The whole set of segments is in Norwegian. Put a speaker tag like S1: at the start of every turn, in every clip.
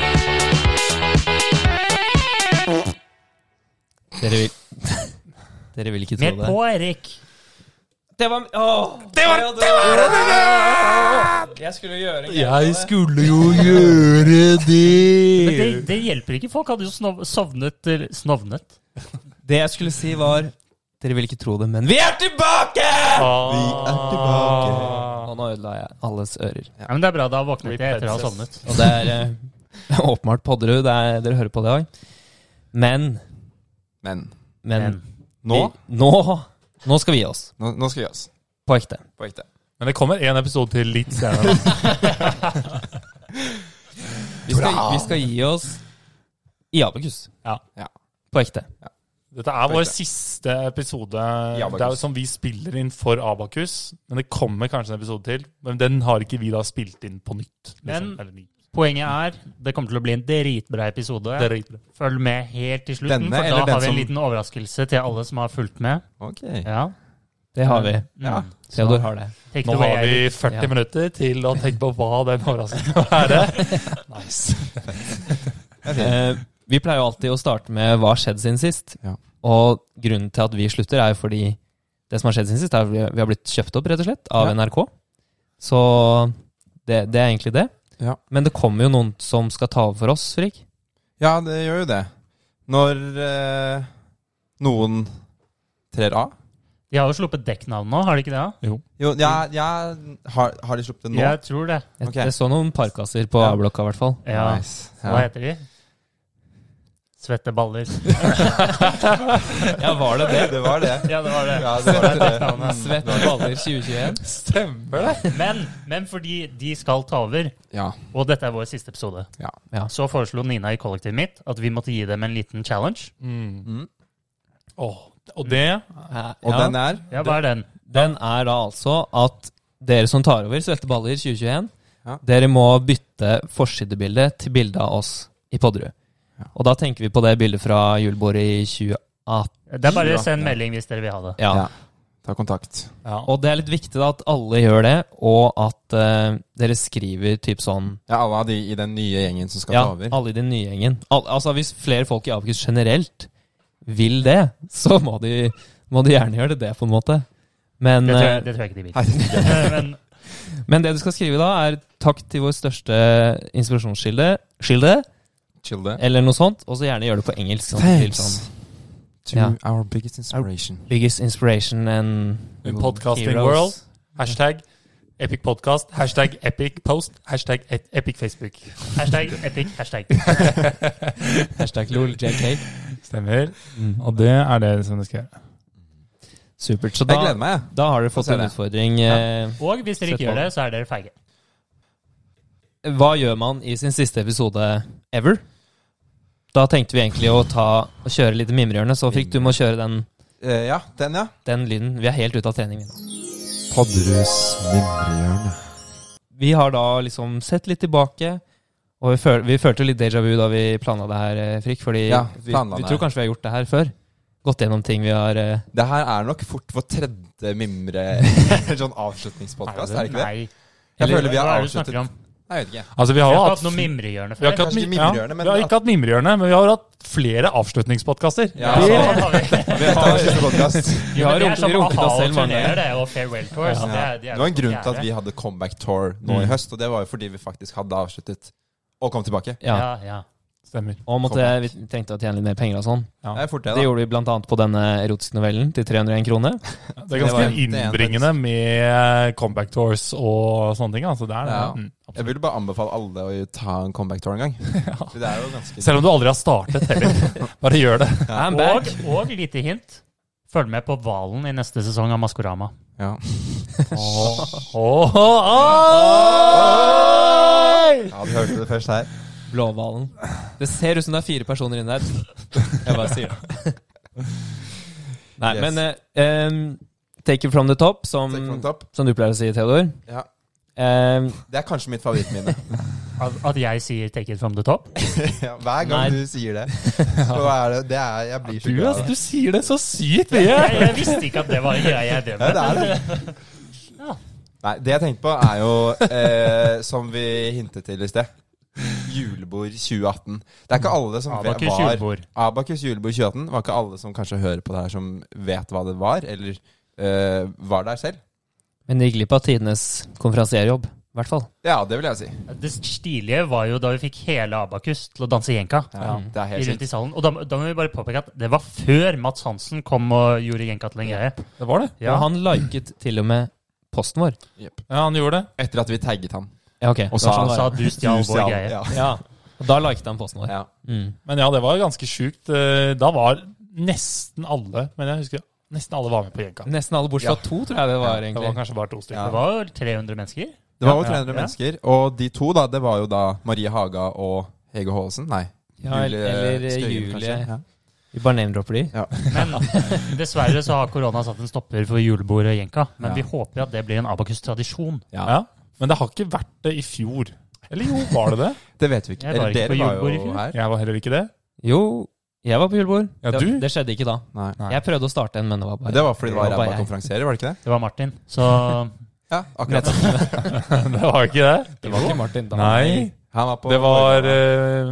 S1: Dere vil ikke tro
S2: Mer
S1: det.
S2: på, Erik.
S3: Det var Åh!
S1: Det var-
S3: Ja,
S1: det
S3: Jeg skulle gjøre en
S1: Jeg skulle jo gjøre
S2: Men det,
S1: det!
S2: det hjelper ikke. Folk hadde jo snov, sovnet til- Snovnet?
S3: Det jeg skulle si, var Dere vil ikke tro det, men vi er tilbake!
S1: Vi er tilbake.
S3: Og nå ødela jeg alles ører.
S2: Ja, men Det er bra. Da våknet jeg etter å ha sovnet.
S3: Og det er eh, åpenbart Podderud. Det er, dere hører på det òg. Men,
S4: Men
S3: men
S2: Men.
S5: Nå?
S3: Vi, nå, nå skal vi gi oss.
S4: nå, nå skal vi gi oss.
S3: På ekte.
S4: På ekte.
S5: Men det kommer én episode til litt senere.
S3: Vi skal, vi skal gi oss i Abekus.
S5: Ja.
S4: Ja.
S3: På ekte.
S5: Dette er vår siste episode
S4: Abakus.
S5: Det er jo som vi spiller inn for Abakus. Men det kommer kanskje en episode til. Men den har ikke vi da spilt inn på nytt. liksom.
S2: Men-
S5: Eller ny.
S2: Poenget er det kommer til å bli en dritbra episode.
S5: Det er riktig.
S2: Følg med helt til slutten,
S4: Denne,
S2: for
S4: eller
S2: da
S4: den
S2: har vi en
S4: som-
S2: liten overraskelse til alle som har fulgt med.
S4: Ok.
S2: Ja.
S3: Det har vi.
S4: Ja.
S2: Mm.
S3: Theodor har det.
S2: Take
S5: Nå
S2: it away,
S5: har vi
S2: Eirik.
S5: 40
S3: Ja.
S5: minutter til å tenke på hva den overraskelsen skal være. Nice.
S3: Eh, vi pleier jo alltid å starte med hva har skjedd siden sist.
S4: Ja.
S3: Og grunnen til at vi slutter, er jo fordi det som har skjedd siden sist, er at vi vi har blitt kjøpt opp, rett og slett, av
S4: Ja.
S3: NRK. Så det, det er egentlig det.
S4: Ja.
S3: Men det kommer jo noen som skal ta over for oss, Frik.
S4: Ja, det gjør jo det. Når eh, noen trer av
S2: De har jo sluppet dekknavn nå, har de ikke det? da?
S4: Jo, ja, ja, har, har de sluppet det nå?
S2: Jeg tror det.
S3: Jeg,
S4: Ok.
S3: jeg så noen parkasser på
S4: Ja.
S3: A-blokka, i hvert fall.
S2: Ja.
S4: Nice.
S2: Hva
S4: Ja.
S2: heter de? Svette baller.
S3: Ja, var det det?
S4: Det var det.
S2: Ja, det var det.
S4: Ja, det var det.
S3: Svett baller 2021.
S5: Stemmer det?
S2: Men, men fordi de skal ta over,
S4: Ja.
S2: og dette er vår siste episode,
S4: Ja.
S3: Ja.
S2: så foreslo Nina i kollektivet mitt at vi måtte gi dem en liten challenge.
S4: Mm.
S5: Åh, og det
S4: Og
S3: ja.
S4: den er
S2: Ja, hva er den?
S3: Den er da altså at dere som tar over Svette baller 2021,
S4: Ja.
S3: dere må bytte forsidebilde til bilde av oss i Podderud.
S4: Ja.
S3: Og da tenker vi på det bildet fra julebordet i 2018.
S2: Det er bare
S4: Ja.
S2: å sende melding hvis dere vil ha det.
S3: Ja.
S4: Ja. Ta kontakt.
S5: ja.
S3: Og det er litt viktig da at alle gjør det, og at eh, dere skriver typ sånn
S4: Ja, alle av de i den nye gjengen som skal
S3: Ja,
S4: ta over.
S3: alle i den nye gjengen. Al altså hvis flere folk i Abakus generelt vil det, så må de, må de gjerne gjøre det, det på en måte. Men
S2: Det tror
S3: eh,
S2: jeg, det tror jeg ikke de vil.
S4: Nei, det-
S2: Men
S3: Men det du skal skrive da, er takk til vår største inspirasjonskilde, skilde,
S4: Chill det.
S3: eller noe sånt, og så gjerne gjør det på engelsk. Sånn, til sånn.
S4: Thanks to
S3: Ja.
S4: our biggest inspiration.
S3: Biggest inspiration and
S5: In podcasting
S3: heroes.
S5: world. Hashtag epic podcast. Hashtag epic post. Hashtag et- epic Facebook.
S2: hashtag epic, hashtag.
S3: Hashtag lol, JK.
S5: Stemmer. Mm. Og det er det som det skal gjøre.
S3: Supert. Så
S4: Jeg gleder
S3: da,
S4: meg, jeg.
S3: da har dere fått
S4: Jeg ser
S3: en
S4: det.
S3: utfordring. eh,
S2: Og hvis dere ikke gjør det, så er dere feige.
S3: Hva gjør man i sin siste episode ever? Da tenkte vi egentlig å ta og kjøre litt mimrehjørne, så Frikk, du må kjøre den,
S4: Eh, ja, den, ja.
S3: den lyden. Vi er helt ute av trening. nå.
S4: Podderus mimrehjørne.
S3: Vi har da liksom sett litt tilbake, og vi, føl vi følte jo litt déjà vu da vi planla det her, eh, Frikk, fordi
S4: Ja,
S3: vi,
S4: planla
S3: vi
S4: det.
S3: tror kanskje vi har gjort det her før. Gått gjennom ting vi har eh,
S4: Det her er nok fort vår tredje mimre Sånn avslutningspodkast, er det ikke det?
S2: Nei.
S4: Jeg føler vi har
S2: Hva er det du
S4: avsluttet
S2: snakker om?
S4: Nei, jeg vet ikke.
S5: Altså, vi har
S2: Vi
S5: jo
S2: har ikke hatt
S5: hatt
S2: noe mimrehjørne
S5: vi har
S2: før.
S5: ikke hatt,
S4: Kanskje
S5: mim
S4: ikke
S5: ja,
S4: mimrehjørne, men
S5: vi har
S4: at-
S5: ikke hatt mimrehjørne, men vi har hatt flere avslutningspodkaster.
S4: Ja,
S5: Det-
S4: ja.
S2: Det har vi.
S4: Vi har tatt siste podcast.
S3: Vi
S2: Det er
S3: har runket-
S2: som
S3: runket oss
S2: a-ha
S3: selv
S2: og
S3: mange
S2: turnerer,
S3: ganger.
S2: det, og farewell tours.
S4: Ja.
S2: Det, er- de er
S4: Det var en
S2: så
S4: grunn til at
S2: fjerde.
S4: vi hadde comeback tour nå i høst, og det var jo fordi vi faktisk hadde avsluttet og kom tilbake.
S3: ja.
S2: Ja, ja.
S5: Stemmer.
S3: Og måtte, vi trengte å tjene litt mer penger og sånn.
S5: Ja.
S4: Det er fort det,
S3: Det
S4: da.
S3: gjorde vi bl.a. på denne erotiske novellen til 301 kroner.
S5: Det er
S4: Det var en- det
S5: ganske
S4: er en
S5: innbringende med comeback tours og sånne ting. Altså, det er det.
S4: Ja.
S5: Mm,
S4: Jeg
S5: absolutt.
S4: vil bare anbefale alle å ta en comeback tour en gang. For Det er jo ganske
S5: Selv om du aldri har startet heller. Bare gjør det.
S3: I'm
S2: Og,
S3: back!
S2: og lite hint. Følg med på Hvalen i neste sesong av Maskorama.
S4: ja.
S5: Åh, Ah! oi!
S4: ja, du hørte det først her.
S3: Blåhvalen. Det ser ut som det er fire personer inne der. Jeg bare sier det. Nei,
S4: Yes.
S3: men eh, em, Take it from the top, som,
S4: Take it from the top.
S3: som du pleier å si, Theodor.
S4: Ja.
S3: Em,
S4: Det er kanskje mitt favorittminne.
S2: At, at jeg sier 'take it from the top'?
S4: Ja, Hver
S3: Nei.
S4: gang du sier det, så er det, det er, Jeg blir så
S5: Du,
S4: glad.
S5: altså, du sier det så sykt mye!
S2: Jeg, jeg visste ikke at det var en greie jeg drev
S4: Ja,
S2: med.
S4: det er det. Nei, det jeg tenkte på, er jo eh, som vi hintet til i sted. Julebord 2018. Det er ikke alle som vet-
S2: Abakus
S4: var
S2: julebord.
S4: Abakus julebord 2018 var ikke alle som kanskje hører på det her, som vet hva det var, eller eh, var der selv.
S3: Men de gikk glipp av tidenes konferansierjobb. I hvert fall.
S4: Ja, det vil jeg si.
S2: Det stilige var jo da vi fikk hele Abakus til å danse jenka.
S4: Ja, det er helt
S2: Rundt
S4: sykt.
S2: i salen. Og da, da må vi bare påpeke at det var før Mats Hansen kom og gjorde jenka til en greie.
S5: Det var det.
S2: Ja.
S3: Og han liket til og med posten vår.
S5: Ja, han gjorde det.
S4: Etter at vi tagget han.
S3: Ja, ok.
S4: Og
S3: Det var
S4: sa-
S3: sånn
S2: Han
S3: det
S2: sa
S3: var.
S2: du stjal vår greie.
S4: Ja.
S3: Ja, og da liket han posten vår.
S4: Ja.
S3: Mm.
S5: Men ja, det var ganske sjukt. Eh, Da var nesten alle Men jeg husker nesten alle var med på jenka.
S3: Nesten alle bortsett fra to, tror jeg det var,
S5: Det var
S3: egentlig.
S5: kanskje bare to stykker.
S4: Ja.
S2: Det var jo 300 mennesker.
S4: Det var jo
S5: Ja,
S4: 300
S2: ja.
S4: mennesker, og de to da, det var jo da Marie Haga og Hege Haasen. Nei.
S3: Ja, eller, eller eh,
S4: Skøyen,
S3: Julie.
S4: kanskje. Ja.
S3: Vi bare name-dropper de.
S2: Men dessverre så har korona satt en stopper for julebord og jenka. Men
S4: Ja.
S2: vi håper at det blir en Abakus-tradisjon.
S4: Ja.
S5: Ja. Men det har ikke vært det i fjor. Eller jo, var det det?
S4: Det vet vi ikke.
S2: Jeg var
S4: Eller
S2: ikke på
S4: dere var
S2: julebord i
S4: jo
S2: fjor.
S4: her.
S5: Jeg var heller ikke det.
S3: Jo, jeg var på julebord.
S5: Ja,
S3: det,
S5: du?
S3: det skjedde ikke da.
S4: Nei.
S5: Nei.
S3: Jeg prøvde å starte en, men det var bare
S4: Men Det var fordi det var
S3: Det var
S4: ræva
S3: jeg.
S4: konferansierer, var det ikke det?
S2: Det var Martin. Så
S4: Ja, akkurat.
S5: Det var ikke det.
S3: Det var ikke Martin. Da.
S5: Nei.
S4: Han var på
S5: Det var eh,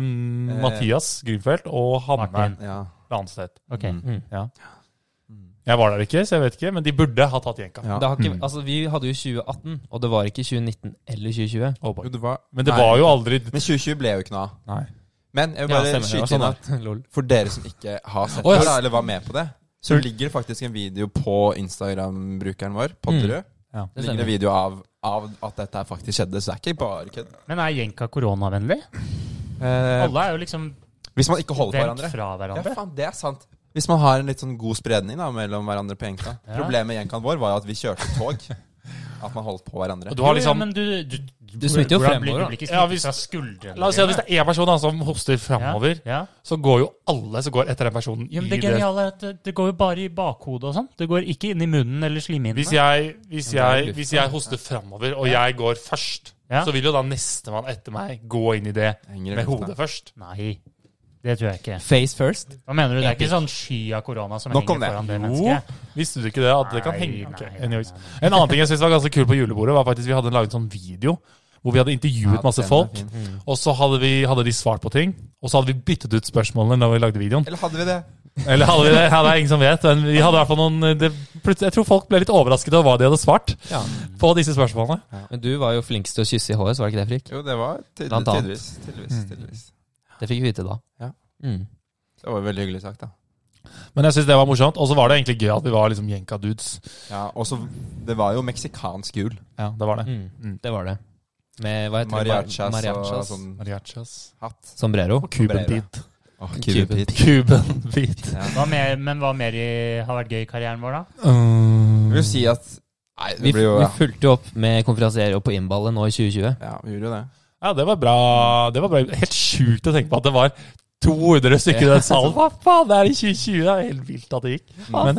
S5: Mathias Grünfeldt og Hanne
S2: Martin.
S4: Ja.
S5: Ranstedt.
S2: Ok.
S4: Mm.
S3: Mm.
S5: Jeg var der ikke, så jeg vet ikke, men de burde ha tatt jenka.
S4: Ja.
S3: Det har ikke,
S2: Mm.
S3: altså, vi hadde jo 2018, og det var ikke 2019 eller 2020.
S5: Oh boy.
S4: Jo, det var
S5: men det
S4: Nei.
S5: var jo aldri
S4: Men 2020 ble jo ikke noe av.
S5: Nei.
S4: Men jeg vil
S3: Ja,
S4: bare
S3: stemmer, det var
S4: skyte inn
S3: sånn,
S4: at
S3: da. Lol.
S4: for dere som ikke har sett
S5: Å, ja.
S4: det, da, eller var med på det, så ligger det faktisk en video på Instagram-brukeren vår, Podderud.
S5: Ja,
S4: Det
S3: det
S4: ligger en
S3: stemmer.
S4: video av, av at dette her faktisk skjedde, så det er ikke bare kødd.
S2: Men er jenka koronavennlig?
S4: Eh,
S2: Alle er jo liksom
S4: hvis man ikke holder på
S2: vendt
S4: hverandre.
S2: fra
S4: Ja,
S2: hverandre.
S4: faen, det er sant. Hvis man har en litt sånn god spredning da, mellom hverandre på jenka.
S2: Ja.
S4: Problemet med jenkaen vår var jo at vi kjørte tog. At man holdt på hverandre.
S5: Og du har
S2: Jo, jo,
S5: liksom
S2: men du, du,
S3: Du smitter jo
S2: hvordan
S3: fremover,
S2: blir-
S3: da.
S2: Du blir ikke
S5: Ja,
S2: smittet
S5: hvis-
S2: fra skuldrene.
S5: La oss si at
S2: dine.
S5: hvis det er en person da, som hoster framover,
S2: Ja. ja.
S5: så går jo alle som går etter den personen,
S2: Jo, men
S5: i
S2: det
S5: det.
S2: geniale er at det, det går jo bare i bakhodet og sånn. Det går ikke inn i munnen eller slimhinnene.
S5: Hvis jeg, hvis
S3: Ja, men det er
S5: jeg,
S3: luft,
S5: hvis jeg hoster framover, og jeg går først,
S2: sånn. Ja.
S5: så vil jo da nestemann etter meg gå inn i det
S4: Henger i
S5: med
S4: lufta.
S5: hodet først.
S2: Nei, det tror jeg ikke.
S3: Face first.
S2: Hva mener du? Det er ikke sånn sky av korona som
S4: Nok om det.
S2: henger foran det
S5: Jo,
S2: mennesket?
S5: visste du ikke det? At det kan
S2: Nei, nei,
S5: henge Ok,
S2: nei,
S5: anyways.
S2: nei, nei.
S5: En annen ting jeg synes var ganske kul på julebordet, var faktisk vi hadde laget en sånn video hvor vi hadde
S4: Ja,
S5: intervjuet masse
S4: den er
S5: folk,
S4: fin.
S5: og så hadde, vi, hadde de svart på ting. Og så hadde vi byttet ut spørsmålene da vi lagde videoen.
S4: Eller hadde vi det?
S5: Eller hadde vi det? Ja, det er ingen som vet. Men vi hadde i hvert fall noen det, plut- Jeg tror folk ble litt overrasket over hva de hadde svart
S3: Ja.
S5: på disse spørsmålene.
S3: Men du var jo flinkest til å kysse i håret, så var det ikke det, Frik?
S4: Jo, det var tydelig,
S3: Blant annet.
S4: tydeligvis, tydeligvis,
S5: Mm.
S4: tydeligvis.
S3: Det fikk vi vite da.
S4: Ja.
S3: Mm.
S4: Det var veldig hyggelig sagt, da.
S5: Men jeg synes det var morsomt. Og så var det egentlig gøy at vi var liksom jenka-dudes.
S4: Ja, og så Det var jo meksikansk jul.
S5: Ja, det var det.
S3: Mm.
S5: Mm.
S3: Det var det. Med hva heter det?
S4: Mariachas og
S3: Mariachas.
S4: sånn
S5: Mariachas.
S4: hatt.
S3: Sombrero.
S5: Og Cuban
S4: Sombrero.
S5: Pete.
S4: Åh,
S3: Cuban.
S4: Cuban Pete.
S5: Cuban Pete.
S4: Ja.
S2: Hva mer, men hva mer i, har vært gøy i karrieren vår, da?
S5: Mm.
S4: Jeg vil si at Nei, det
S3: Vi,
S4: blir jo
S3: vi
S4: ja.
S3: fulgte jo opp med konferansier og på innballet nå i 2020.
S4: ja, vi gjorde jo det.
S5: Ja, det var bra. Det var bra. Helt sjukt å tenke på at det var 200 stykker i den salen. Hva faen, det er i 2020! Det er helt vilt at det gikk. Men,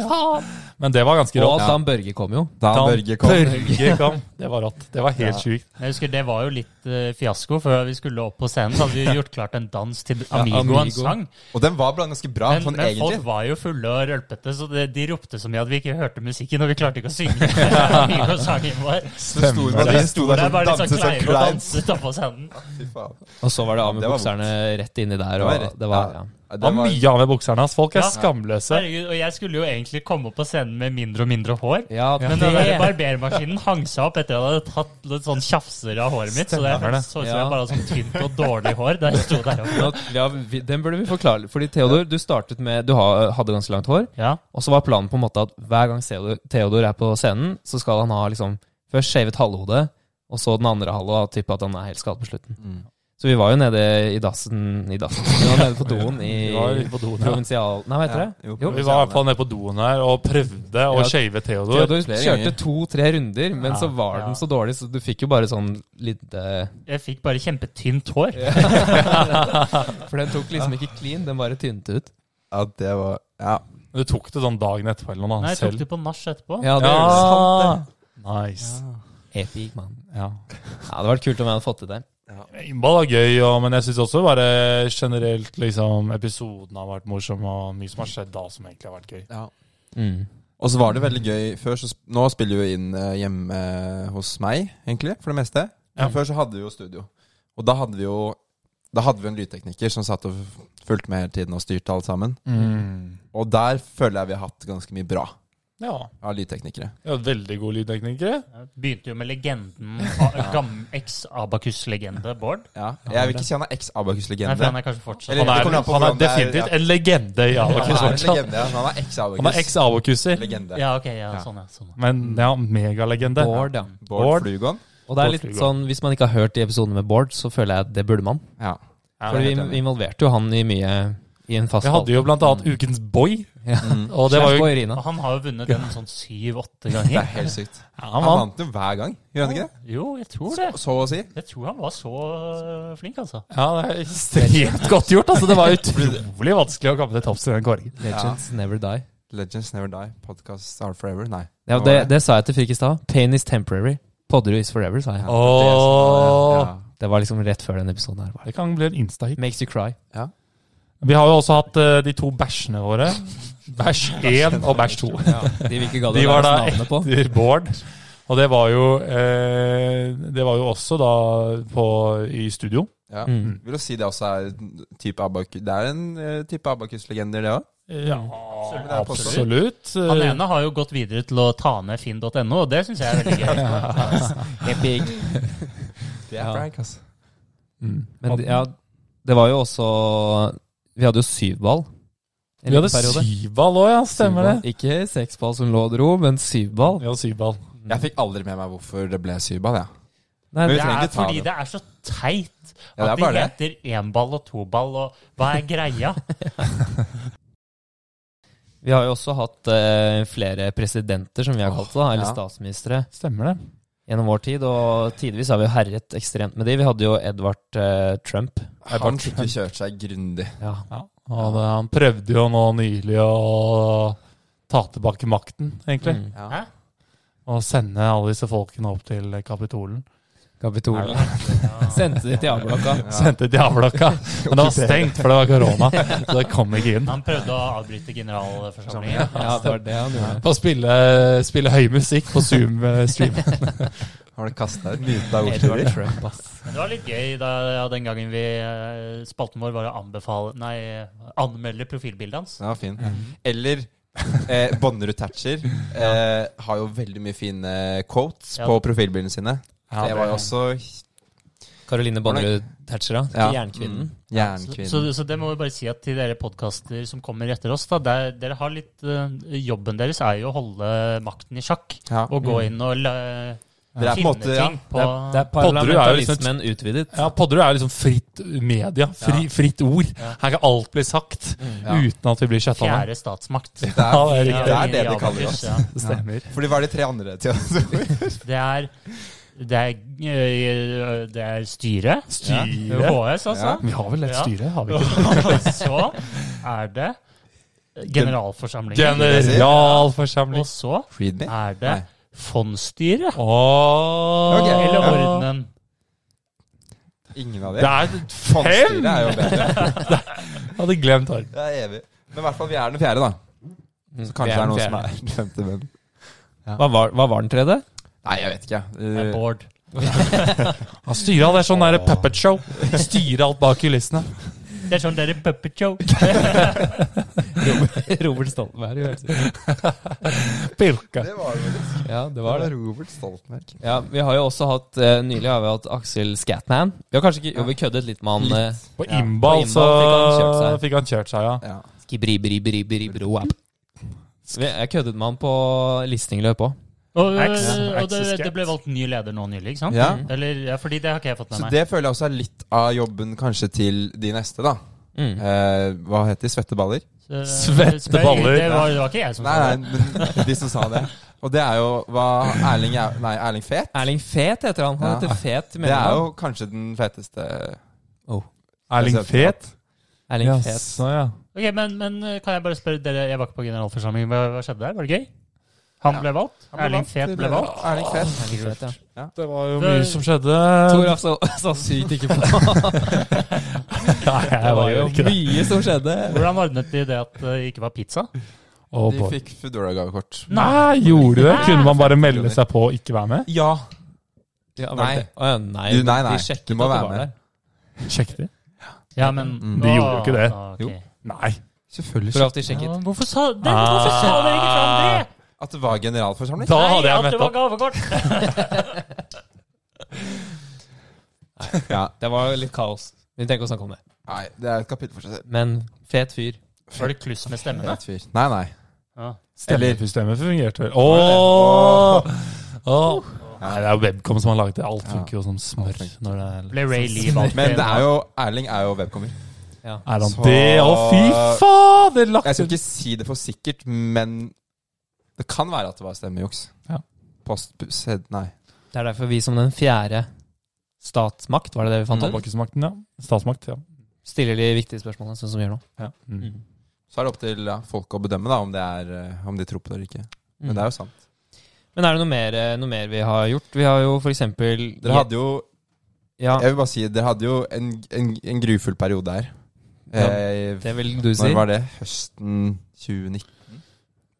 S5: men det var ganske
S3: Og
S5: rått.
S3: at Dan Børge kom jo.
S4: Da
S5: Dan
S4: Børge kom.
S5: Børge kom. Det var rått. Det var helt
S4: Ja.
S5: sjukt.
S2: Jeg husker Det var jo litt eh, fiasko. Før vi skulle opp på scenen, så hadde vi gjort klart en dans til Amigo, en
S3: Amigo.
S2: sang.
S4: Og den var blant- ganske bra,
S2: Men,
S4: sånn
S2: men
S4: egentlig.
S2: folk var jo fulle og rølpete, så det, de ropte så mye at vi ikke hørte musikken, og vi klarte ikke å synge Amigo-sangen vår.
S4: Så sto
S2: Så
S4: de
S2: vi
S4: sto
S2: sto
S4: der
S2: der
S4: sånn,
S2: bare litt
S4: danset
S2: sånn
S4: sånn
S2: kleive og
S4: kleint.
S2: danset oppå scenen.
S4: Fy faen.
S3: Og så var det av med
S4: Det var
S3: bukserne rett inni der.
S4: Det var
S3: Og
S4: rett,
S3: det var,
S4: ja.
S3: ja.
S4: Ja,
S5: Det var mye av med bukserne hans. Folk er
S2: Ja.
S5: skamløse.
S2: Herregud, og jeg skulle jo egentlig komme opp på scenen med mindre og mindre hår.
S3: Ja,
S2: Men den der barbermaskinen hang seg opp etter at jeg hadde tatt litt sånn tjafser av håret mitt. Så det så
S5: Stemmer det.
S2: ut som
S3: Ja.
S2: jeg bare hadde sånn tynt og dårlig hår da jeg sto der oppe.
S3: Nå, ja, vi, den burde vi forklare. Fordi Theodor, du startet med Du ha, hadde ganske langt hår.
S2: Ja.
S3: Og så var planen på en måte at hver gang Theodor, Theodor er på scenen, så skal han ha liksom først shavet halvhodet, og så den andre halve, og tippe at han er helt skadet på slutten.
S4: Mm.
S3: Så vi var jo nede i dassen I dassen. Vi var nede på doen
S5: Vi var
S3: i
S5: på doen, ja.
S3: provinsial... Nei, hva heter det?
S4: Ja, jo,
S5: Vi var i hvert fall nede på doen her og prøvde å
S3: Ja.
S5: shave Theodor.
S3: Theodor
S4: Flere
S3: kjørte
S4: ganger.
S3: to-tre runder, men
S2: Ja,
S3: så var
S2: ja.
S3: den så dårlig, så du fikk jo bare sånn lite
S2: Jeg fikk bare kjempetynt hår.
S3: For den tok liksom ikke clean, den bare tynte ut.
S4: Ja, det var Ja.
S5: Du tok det sånn dagen etterpå eller noe
S2: Nei,
S5: annet
S2: jeg tok
S5: selv?
S2: det på nach etterpå.
S3: Ja, det
S5: Ja. Nice.
S3: Epic, mann.
S5: Ja.
S3: Ja, det hadde vært kult om jeg hadde fått det der.
S5: Innball var gøy, og, men jeg syns også bare generelt liksom, episoden har vært morsom, og mye som har skjedd da som egentlig har vært gøy.
S4: Ja.
S3: Mm.
S4: Og så var det veldig gøy før, så sp Nå spiller vi jo inn eh, hjemme hos meg, egentlig, for det meste. Men
S5: Ja.
S4: før så hadde vi jo studio. Og da hadde vi jo Da hadde vi en lydtekniker som satt og fulgte med hele tiden og styrte alt sammen.
S5: Mm.
S4: Og der føler jeg vi har hatt ganske mye bra
S5: Ja.
S4: av lydteknikere.
S5: ja veldig god lydteknikere.
S2: Begynte jo med legenden. A- gam- Eks-Abakus-legende Bård.
S4: Ja. Jeg vil ikke si han er
S2: Nei, for
S4: eks-Abakus-legende.
S2: han er kanskje fortsatt
S4: Eller-
S5: Han
S4: Det kommer
S5: er,
S4: an på
S5: han er
S4: hvordan det er,
S5: definitivt
S4: ja.
S5: en legende i
S4: Han er en
S5: Abakus.
S4: legende, ja. Han er
S5: Han er
S4: eks-Abakus.
S5: eks-Abakuser.
S4: Legende.
S2: Ja, ok, ja,
S4: Ja.
S2: sånn, ja. Sånn. ja.
S5: Men ja, megalegende.
S3: Bård, ja.
S4: Bård
S5: Bård.
S4: Flugon.
S3: Og det er litt sånn, hvis man ikke har hørt de episodene med Bård, så føler jeg at det burde man.
S4: Ja.
S5: Ja,
S3: For vi vi involverte jo han i mye i en fast
S5: Jeg hadde jo blant annet Ukens Boy.
S3: Ja.
S5: Og det var jo
S2: Og
S3: Irina.
S2: han har jo vunnet den sånn syv-åtte
S4: Det er
S2: ganger.
S4: helt sykt.
S5: ja,
S4: Han
S5: han
S4: vant
S5: vant.
S4: jo hver gang, gjør han ikke det?
S2: Jo, jeg tror det.
S4: Så å si.
S2: Jeg tror han var så øh, flink, altså.
S5: Ja, det er ekstremt godt gjort. Altså, det var utrolig vanskelig å komme til topps i den kåringen.
S3: Legends never die.
S4: Legends Never Die. Podcasts Are Forever. Nei.
S3: Ja, og det, det sa jeg til Frikk i stad. Pain is temporary. Podderud is forever, sa jeg.
S4: Ja, det er sånn, ja.
S3: Det var liksom rett før den episoden her.
S5: Det kan bli en insta-hit.
S3: Makes you cry.
S5: Vi har jo også hatt eh, de to bæsjene våre. Bæsj 1 og bæsj 2.
S3: De vi ikke ga
S5: De
S3: det
S5: var da
S3: navnet på.
S5: etter Bård. Og det var jo eh, Det var jo også da på, i studio.
S4: Ja.
S3: Mm.
S4: Vil du si det også er en type abakus Det er en eh, type abakus-legender, det òg.
S5: Ja, absolutt.
S2: Han
S3: Eh,
S2: ene har jo gått videre til å ta ned finn.no, og det syns jeg er veldig gøy.
S4: Det
S3: Ja.
S4: prank, altså.
S5: Mm.
S3: Men det- ja, det var jo også Vi hadde jo syvball. en
S5: Vi hadde
S3: liten periode.
S5: syvball òg, ja. Stemmer det.
S3: Syvball. Ikke seksball som lå og dro, men syvball.
S5: Vi hadde syvball.
S4: Jeg fikk aldri med meg hvorfor det ble syvball, jeg.
S3: Mm. Nei,
S4: Men-
S2: Det
S4: Vi trenger
S2: er
S4: ikke ta
S2: fordi
S4: det.
S2: det er så teit
S4: Ja, det er
S2: at
S4: bare
S2: de
S4: det.
S2: heter énball og toball, og hva er greia?
S3: Vi har jo også hatt eh, flere presidenter, som vi har kalt det, da, eller
S4: ja.
S3: statsministre,
S5: Stemmer det.
S3: gjennom vår tid. Og tidvis har vi jo herjet ekstremt med de. Vi hadde jo Edvard eh, Trump.
S4: Han fikk jo kjørt seg grundig.
S3: Ja.
S5: Ja. Og det, han prøvde jo nå nylig å ta tilbake makten, egentlig.
S3: Mm.
S4: Ja.
S2: Hæ?
S5: Og sende alle disse folkene opp til Kapitolen.
S3: Kapitolen.
S2: Ja.
S3: Sendte de til Jablokka.
S5: Sendte djavlakka. Men det var stengt, for det var korona. Så det kom ikke inn.
S2: Han prøvde å avbryte generalforsamlingen.
S3: Sånn, Ja, det var det han gjorde.
S5: På å spille, spille høy musikk på eh, Zoom-stream.
S4: Har du kasta ut lite av
S3: Edvard
S4: ordturer?
S3: Trump, ass.
S2: Men det var litt gøy da, ja, den gangen vi eh, Spalten vår var å anbefale Nei, anmelde profilbildet hans.
S4: Ja, fin. Eller eh, Bonnerud Thatcher eh, har jo veldig mye fine quotes
S2: Ja.
S4: på profilbildene sine. det var jo også
S3: Karoline Bonnerud Thatcher, da.
S4: Ja.
S3: Jernkvinnen.
S4: Mm.
S2: Så,
S4: Jernkvinnen.
S2: så, så det må vi bare si at til dere podkaster som kommer etter oss, da, der, dere har litt, eh, jobben deres er jo å holde makten i sjakk.
S4: ja.
S2: Og gå inn og la,
S4: Mm. Det er på en
S2: finne
S4: måte, ja.
S2: ting på
S3: Det er
S5: Podderud er jo liksom et-
S3: parlamentarismen utvidet.
S5: Ja, Podderud er liksom fritt media. Fri, Fritt ord.
S2: Ja.
S5: Her kan alt bli sagt
S4: Mm, Ja.
S5: uten at vi blir kjøtta ned.
S2: fjerde statsmakt.
S4: Det er,
S5: Ja, det er
S4: det,
S5: riktig.
S4: er det de
S2: Ja,
S4: kaller oss.
S2: faktisk, ja.
S5: Stemmer.
S4: Fordi hva er de tre andre til oss?
S2: Det er, det er, eh, det er styret. Det er
S5: Styre.
S2: HS, altså.
S5: Vi har vel et
S2: Ja.
S5: styre, har vi ikke?
S2: Og så er det generalforsamlingen. Og
S5: Generalforsamling.
S2: så
S4: Read me.
S2: er det
S4: Nei.
S2: fondsstyret.
S5: Åh.
S4: Ok.
S2: Eller
S4: Ja.
S2: ordenen.
S4: Ingen av
S5: Det
S4: dem.
S5: er fem!
S4: Fondsstyret er jo bedre.
S5: Hadde glemt Arn.
S4: Det er evig. Men i hvert fall vi er den fjerde, da. Så kanskje
S3: Vi
S4: det er
S3: den
S4: noen som
S3: fjerde.
S4: er den femte. Men...
S3: Hva var, hva var den tredje?
S4: Nei, jeg vet ikke.
S2: Det
S4: Uh,
S2: er Bård.
S5: Han styrer alt, det er sånn der puppet show. Styrer alt bak kulissene.
S2: Det er sånn dere puppet show.
S3: Robert Stoltenberg. jo helt sikkert.
S5: Pirka.
S4: det var det.
S3: Ja, det
S4: Det
S3: var det.
S4: Robert Stoltenberg.
S3: Ja, vi har jo også hatt eh, Nylig har vi hatt Aksel Scatman. Vi har kanskje ikke Jo, vi køddet litt med han eh,
S5: På
S3: Ja,
S5: innball
S3: på innball fikk han kjørt
S5: så
S3: seg.
S5: fikk han kjørt seg, ja.
S4: Ja.
S3: Skibri, bri, bri, bri, bro, app. Så vi- Jeg køddet med han på listingløp òg.
S2: Og, øh,
S5: Axe-
S2: og det,
S5: Axe-skate.
S2: det ble valgt ny leder nå nylig, ikke sant?
S4: Ja.
S2: Eller, ja, fordi det har ikke jeg fått
S4: Så
S2: med meg.
S4: det føler jeg også er litt av jobben kanskje til de neste, da.
S3: Mm.
S4: Eh, hva heter de? Svetteballer?
S2: Så- øh,
S5: Svette
S2: spør-
S5: baller.
S2: Det var, det var ikke jeg som
S4: Nei,
S2: sa det.
S4: nei, men de som sa det. Og det er jo hva Erling, Jau- nei, Erling Fet
S3: Erling Fet heter han. Han
S4: Ja.
S3: heter Fet i
S4: Det er
S3: mellomnavn.
S4: jo kanskje den feteste
S5: Erling Fet.
S3: Erling
S5: Ja,
S3: Fet.
S5: så ja.
S2: Ok, men, men eh, kan jeg bare spørre dere, jeg var ikke på generalforsamlingen, hva, hva skjedde der? Var det gøy? Han
S4: Ja.
S2: ble valgt? Erling Fet ble valgt?
S4: Erling Fet.
S3: Erling Fet, ja.
S5: Det var jo
S2: Det-
S5: mye som skjedde.
S3: Toraf så, så sykt ikke på det.
S5: Nei, jeg var jo ikke det.
S3: mye som skjedde.
S2: Hvordan ordnet de det at eh, det ikke var pizza?
S5: Å,
S4: De
S5: boy.
S4: fikk Foodora-gavekort.
S5: Nei, gjorde du det? Kunne man bare melde seg på og ikke være med?
S4: Ja.
S3: Ja, var
S4: Nei.
S3: det- Å, ja, nei.
S4: Du, nei, nei.
S3: De sjekket
S4: Du må
S3: at det
S4: være
S3: var
S4: med.
S3: der.
S5: Sjekk det.
S2: Ja, men
S4: Mm.
S5: De gjorde jo ikke det.
S2: Ah, ok.
S4: Jo.
S5: Nei.
S4: Selvfølgelig.
S3: For alltid sjekket.
S2: Ja, hvorfor sa, den, hvorfor sa dere ikke fram det?
S4: At det var generalforsamling?
S5: Ah. Da
S2: Nei,
S5: hadde jeg
S2: at det
S5: møtt
S2: var
S5: opp.
S2: gavekort.
S4: Ja.
S3: Det var litt kaos. Vi tenker å snakke om det.
S4: Nei, det er et kapittel for seg selv.
S3: Men fet fyr.
S2: Var det kluss med stemmene?
S4: Fet fyr. Nei, nei.
S2: Ja.
S4: Eller-
S5: Stemmesystemet fungerte vel.
S4: Var
S5: Ååå! Nei, det er jo Webcom som har lagd det. Alt funker jo som smør. Når det er, liksom-
S2: Ble Ray Lee valgt
S4: Men det
S2: igjen?
S4: er jo Erling er jo webcomer.
S5: er han
S4: Så-
S5: det? Å, fy fader! Lagt
S4: Jeg skal
S5: ut
S4: ikke si det for sikkert, men det kan være at det var stemmejuks.
S5: Ja.
S4: Post... sed- Nei.
S3: Det er derfor vi som den fjerde statsmakt, var det det vi
S5: Mm.
S3: fant opp,
S5: Tobakksmakten, ja. Statsmakt, ja.
S3: stiller de viktige spørsmålene, sånn som vi gjør nå.
S5: ja. Mm.
S4: Så er det opp til ja, folk å bedømme da, om, det er, eh, om de tror på det eller ikke.
S3: Mm.
S4: Men det er jo sant.
S3: Men er det noe mer, eh, noe mer vi har gjort? Vi har jo for eksempel
S4: Dere hadde jo
S3: Ja,
S4: Jeg vil bare si, dere hadde jo en, en, en grufull periode her.
S3: Ja,
S4: Eh,
S3: det vil du si.
S4: Når var det? Høsten 2019?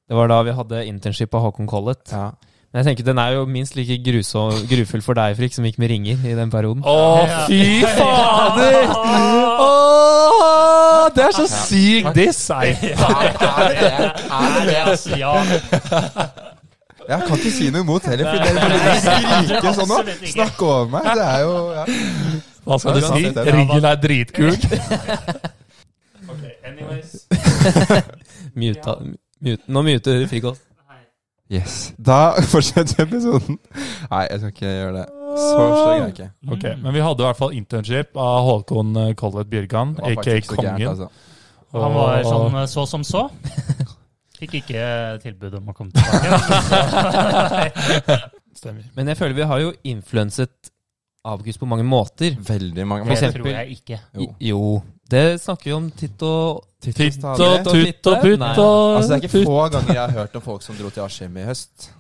S3: Det var da vi hadde internship på Håkon Collett.
S4: Ja.
S3: Men jeg tenker den er jo minst like grusom, grufull for deg, Frik, som gikk med ringer i den perioden.
S5: Å, fy fader! Å, det er så syk diss! Nei.
S4: Er det det? Er
S2: Er
S4: det
S2: det,
S4: det?
S2: altså, ja.
S4: Jeg kan ikke si noe imot heller, for dere burde skrike sånn nå.
S2: Absolutt ikke.
S4: Snakke over meg. Det er jo ja.
S5: Hva skal du si?
S4: Ja, uansett, ja.
S5: Riggen er dritkul.
S2: Okay, anyways.
S3: Muta, mute, nå muter Frik oss.
S4: Yes. Da fortsetter episoden. Nei, jeg skal ikke gjøre det. Så slår jeg ikke.
S5: Ok, Men vi hadde i hvert fall internship av Håkon eh, Collett Bjørgan,
S4: Det var
S5: aka
S4: faktisk ikke så gærent,
S5: Kongen.
S4: altså.
S5: Og-
S2: Han var sånn eh, så som så. Fikk ikke eh, tilbud om å komme tilbake.
S5: Stemmer.
S3: Men jeg føler vi har jo influenset Abacus på mange måter.
S4: Veldig mange
S2: Det
S3: For eksempel-
S2: tror jeg ikke.
S4: Jo.
S3: I- Jo. Det snakker vi om titt og
S5: Titt
S4: og
S5: og tutt og putt
S3: Nei.
S5: og
S4: Altså, det er ikke
S5: putt.
S4: få ganger jeg har hørt om folk som dro til Askim i høst.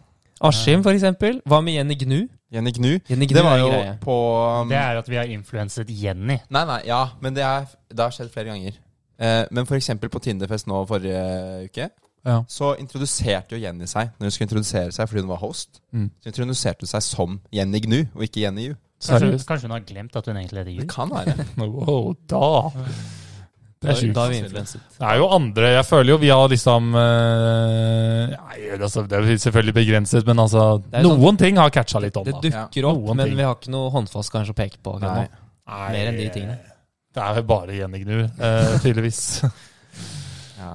S3: Askim, for eksempel. Hva med Jenny Gnu?
S4: Jenny Gnu.
S3: Jenny Gnu
S4: Det var
S3: er en
S4: jo
S3: greie.
S4: på um,
S2: Det er at vi har influenset Jenny.
S4: Nei, nei, ja, men det, er, det har skjedd flere ganger. Eh, men for eksempel på Tinderfest nå forrige uke,
S5: Ja.
S4: så introduserte jo Jenny seg når hun skulle introdusere seg fordi hun var host.
S5: Mm.
S4: Så introduserte hun seg som Jenny Gnu, og ikke Jenny Ju.
S2: Kanskje,
S5: Seriøst?
S2: kanskje hun har glemt at hun egentlig heter
S4: Det
S2: Jul?
S4: kan være.
S5: Wow, da Det
S3: Da,
S5: er sjukt.
S3: da er vi influenset.
S5: Det er jo andre Jeg føler jo vi har liksom eh, Nei, altså, det er jo selvfølgelig begrenset, men altså
S3: Det er jo sånn-
S5: Noen ting har catcha litt om,
S3: Det
S5: da.
S3: dukker opp,
S5: Noen
S3: men
S5: ting.
S3: vi har ikke noe håndfast kanskje å peke på. akkurat
S4: Nei.
S3: nå. Mer enn de tingene.
S5: Det er jo bare Jenny Gnu, eh, tydeligvis.
S4: Ja.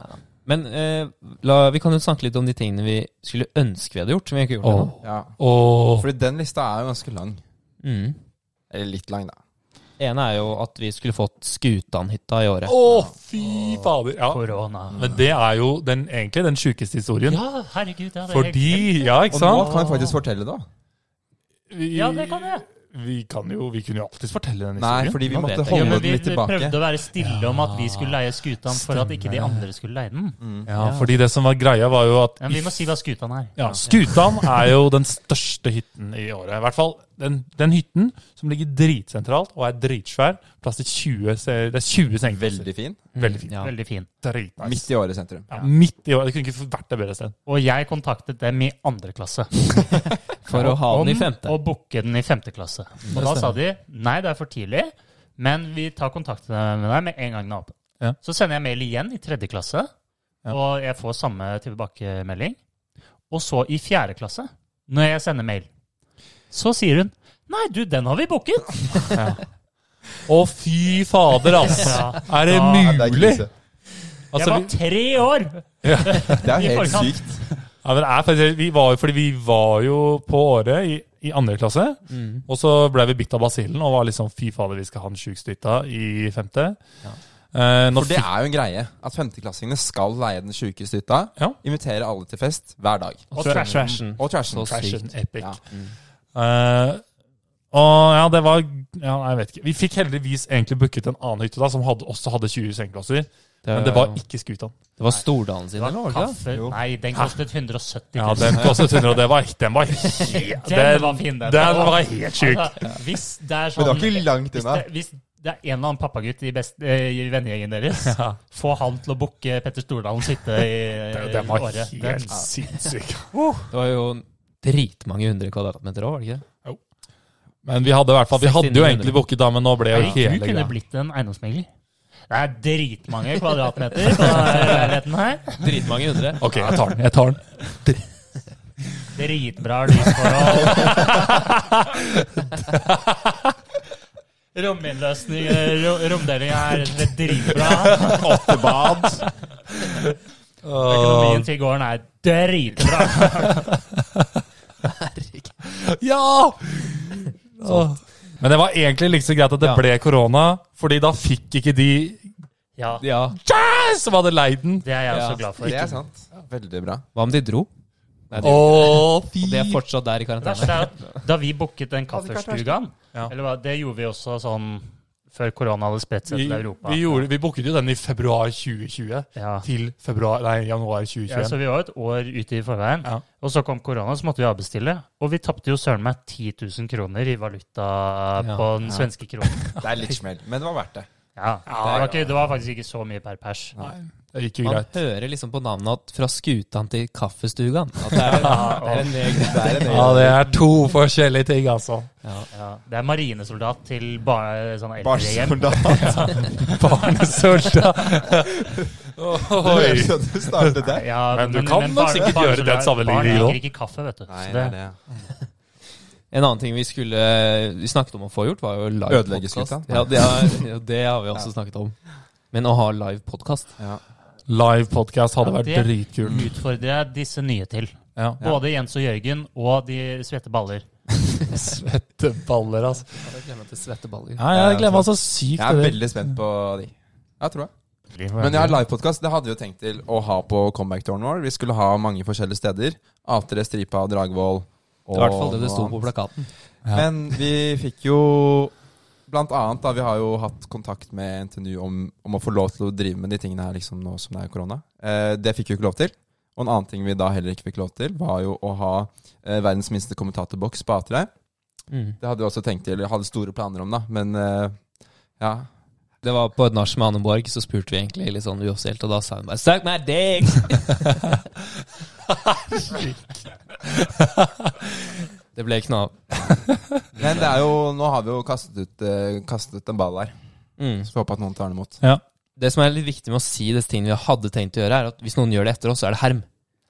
S3: Men eh, la, vi kan jo snakke litt om de tingene vi skulle ønske vi hadde gjort. Som vi ikke har gjort
S5: Åh,
S3: ennå.
S4: ja.
S5: åh.
S4: Fordi den lista er jo ganske lang.
S3: Mm.
S4: Eller litt lang, da.
S3: ene er jo at vi skulle fått Skutanhytta i året.
S5: Åh, fy fader! Ja.
S2: Korona.
S5: Men det er jo den, egentlig den sjukeste historien.
S2: Ja, herregud. Ja, det er helt-
S5: Fordi Ja, ikke
S4: Og nå
S5: sant?
S4: kan vi faktisk fortelle det, da.
S5: Vi,
S2: Ja, det kan jeg.
S5: vi kan jo Vi kunne jo alltids fortelle den
S4: Nei,
S5: historien.
S4: fordi vi
S3: Nå vet
S4: måtte
S3: jeg
S2: Ja,
S4: holde
S2: men
S4: den
S2: vi
S4: litt tilbake.
S2: prøvde å være stille om at vi skulle leie skuta for at ikke de
S5: Stemmer.
S2: andre skulle leie den.
S5: Ja, fordi det som var greia, var jo at
S2: Ja, men vi må si hva skuta er.
S5: Ja, Skutan er jo den største hytten i året. I hvert fall den, den hytten som ligger dritsentralt og er dritsvær. Plass til 20, se- det er 20 sengeplasser.
S4: Veldig fin.
S5: Veldig fint.
S3: Ja.
S2: Veldig fin.
S5: Dritnice.
S4: Midt i året sentrum.
S5: ja, midt i året. Det kunne ikke vært et bedre sted.
S2: Og jeg kontaktet dem i andre klasse.
S3: For å ha den i femte.
S2: Og booke den i femte klasse. Og da sa de nei, det er for tidlig, men vi tar kontakt med deg med en gang den er åpen.
S5: Ja.
S2: Så sender jeg mail igjen i tredje klasse,
S5: Ja.
S2: og jeg får samme tilbakemelding. Og så i fjerde klasse, når jeg sender mail, så sier hun nei, du, den har vi booket.
S5: Å, fy fader, altså! Er det
S4: Ja, det
S2: Ja,
S4: er
S5: mulig?
S4: krise.
S2: Jeg
S5: Altså,
S2: var
S5: vi,
S2: tre år!
S4: Det er
S2: I
S4: helt
S2: forkant.
S4: sykt.
S5: ja, men det er faktisk, vi var jo fordi vi var jo på året i, i andre klasse.
S3: Mm.
S5: Og så ble vi bitt av basillen og var liksom fy fader, vi skal ha den sjukeste hytta i femte.
S3: Ja.
S5: Eh, nå
S4: For det er jo en greie at femteklassingene skal leie den sjukeste hytta.
S5: Ja.
S4: Invitere alle til fest hver dag.
S2: Og
S5: Tra-
S2: trashen.
S3: Trashen.
S4: Og trashen.
S3: Så sykt.
S5: Fashion epic.
S4: Ja.
S5: Eh, og ja, det var ja, nei, Jeg vet ikke. Vi fikk heldigvis egentlig booket en annen hytte da, som hadde, også hadde 20 sengeplasser. Men det var ikke Skutan.
S3: det var Stordalen sin, eller? var det ikke det?
S2: Kaffe Nei, den kostet 170
S5: Ja,
S2: 000.
S5: den kostet 100, og det var, den var helt
S2: Den var fin, den.
S5: Den var helt sjuk.
S2: Altså, hvis det er
S4: Men
S2: sånn
S4: det var ikke langt
S2: Hvis
S4: unna.
S2: det, hvis det er en eller annen pappagutt i, best, eh, i vennegjengen deres, få han til å booke Petter Stordalens hytte i,
S5: Den,
S2: i
S5: den var
S2: året.
S5: helt sinnssyk.
S3: Det var jo dritmange hundre kvadratmeter òg, var det ikke det?
S5: Men vi hadde i hvert fall Vi hadde jo egentlig booket da, men nå ble jo
S2: Nei, du
S5: hele
S2: kunne
S5: greia
S2: blitt en eiendomsmegler. Det er dritmange kvadratmeter på denne leiligheten her.
S3: Dritmange hundre.
S5: Ok, jeg tar den. jeg tar den.
S2: Dritbra lysforhold. Rominnløsning ro- Romdeling er rett og slett dritbra.
S5: Åttebad.
S2: Økonomien til gården er dritbra.
S5: Ja! Åh. Men det var egentlig like så greit at det
S3: Ja.
S5: ble korona, fordi da fikk ikke de
S2: Ja,
S3: Ja.
S5: som hadde leid den.
S2: det er jeg også
S3: Ja,
S2: glad for.
S4: Det er sant. Veldig bra.
S3: Hva om de dro? Nei, de,
S5: Åh, fy.
S3: de er fortsatt der i
S2: Det verste
S3: karantene.
S2: er at da vi booket den kafferstugaen,
S5: Ja.
S2: eller hva, det gjorde vi også sånn før korona hadde spredt seg
S5: vi,
S2: til Europa.
S5: vi, gjorde, vi booket jo den i februar 2020
S2: Ja.
S5: til februar, nei, januar
S2: Ja, så
S5: 2021.
S2: vi var et år ute i forveien.
S5: Ja.
S2: Og så kom korona, så måtte vi avbestille. Og vi tapte jo søren meg 10 000 kroner i valuta på den svenske kronen.
S4: Det er litt smell, men det var verdt det.
S2: Ja. Det, var ikke, det var faktisk ikke så mye per pers.
S5: Nei, det gikk jo
S3: Man
S5: greit.
S3: hører liksom på navnet at fra skutan til kaffestugan. At det er, det er en egen
S4: Det er en
S5: Ja, det er to forskjellige ting, altså.
S2: Ja. Det er marinesoldat til bare sånn eldrehjem.
S4: barnsoldat.
S5: Barnesoldat.
S4: Det høres ut som du startet der.
S2: Ja,
S5: Men du kan nok
S2: barn-
S5: sikkert gjøre den
S2: barnesoldat-
S5: sammenligningen
S2: Barn
S5: også.
S2: liker ikke kaffe, vet du.
S4: Nei,
S2: Så
S4: det
S2: det,
S4: er det.
S3: En annen ting vi skulle Vi snakket om å få gjort, var jo live
S4: Ødelegge
S3: podcast.
S4: skuta.
S3: Ja, det har, ja, det har vi også snakket om. Men å ha live podkast
S4: Ja.
S5: Live podcast hadde
S2: Ja,
S5: vært
S2: det-
S5: dritkult.
S2: utfordrer jeg disse nye til.
S5: Ja.
S2: Både Jens og Jørgen og de svette baller.
S5: Svette baller, altså.
S3: Svetteballer.
S5: Nei, jeg glemmer altså sykt
S4: Jeg er
S5: det.
S4: veldig spent på de. Ja, tror jeg. Men ja, livepodkast det hadde vi jo tenkt til å ha på comeback-touren vår. Vi skulle ha mange forskjellige steder. A3, Stripa, Dragvoll og
S3: I hvert fall det det sto på plakaten.
S5: Ja.
S4: Men vi fikk jo Blant annet, da, vi har jo hatt kontakt med NTNU om, om å få lov til å drive med de tingene her liksom nå som det er korona. Eh, det fikk vi jo ikke lov til. Og en annen ting vi da heller ikke fikk lov til, var jo å ha eh, verdens minste kommentatorboks på A3.
S3: Mm.
S4: Det hadde vi også tenkt til, eller hadde store planer om, da. Men eh, ja.
S3: Det var på et nach med Anneborg, så spurte vi egentlig litt sånn uoffisielt, og da sa hun bare Suck my dick! det ble ikke noe av.
S4: Men det er jo, nå har vi jo kastet ut, eh, kastet ut en ball her.
S3: Mm.
S4: Så får vi håpe at noen tar den imot.
S3: Det som er litt viktig med å si disse tingene vi hadde tenkt å gjøre, er at hvis noen gjør det etter oss, så er det herm.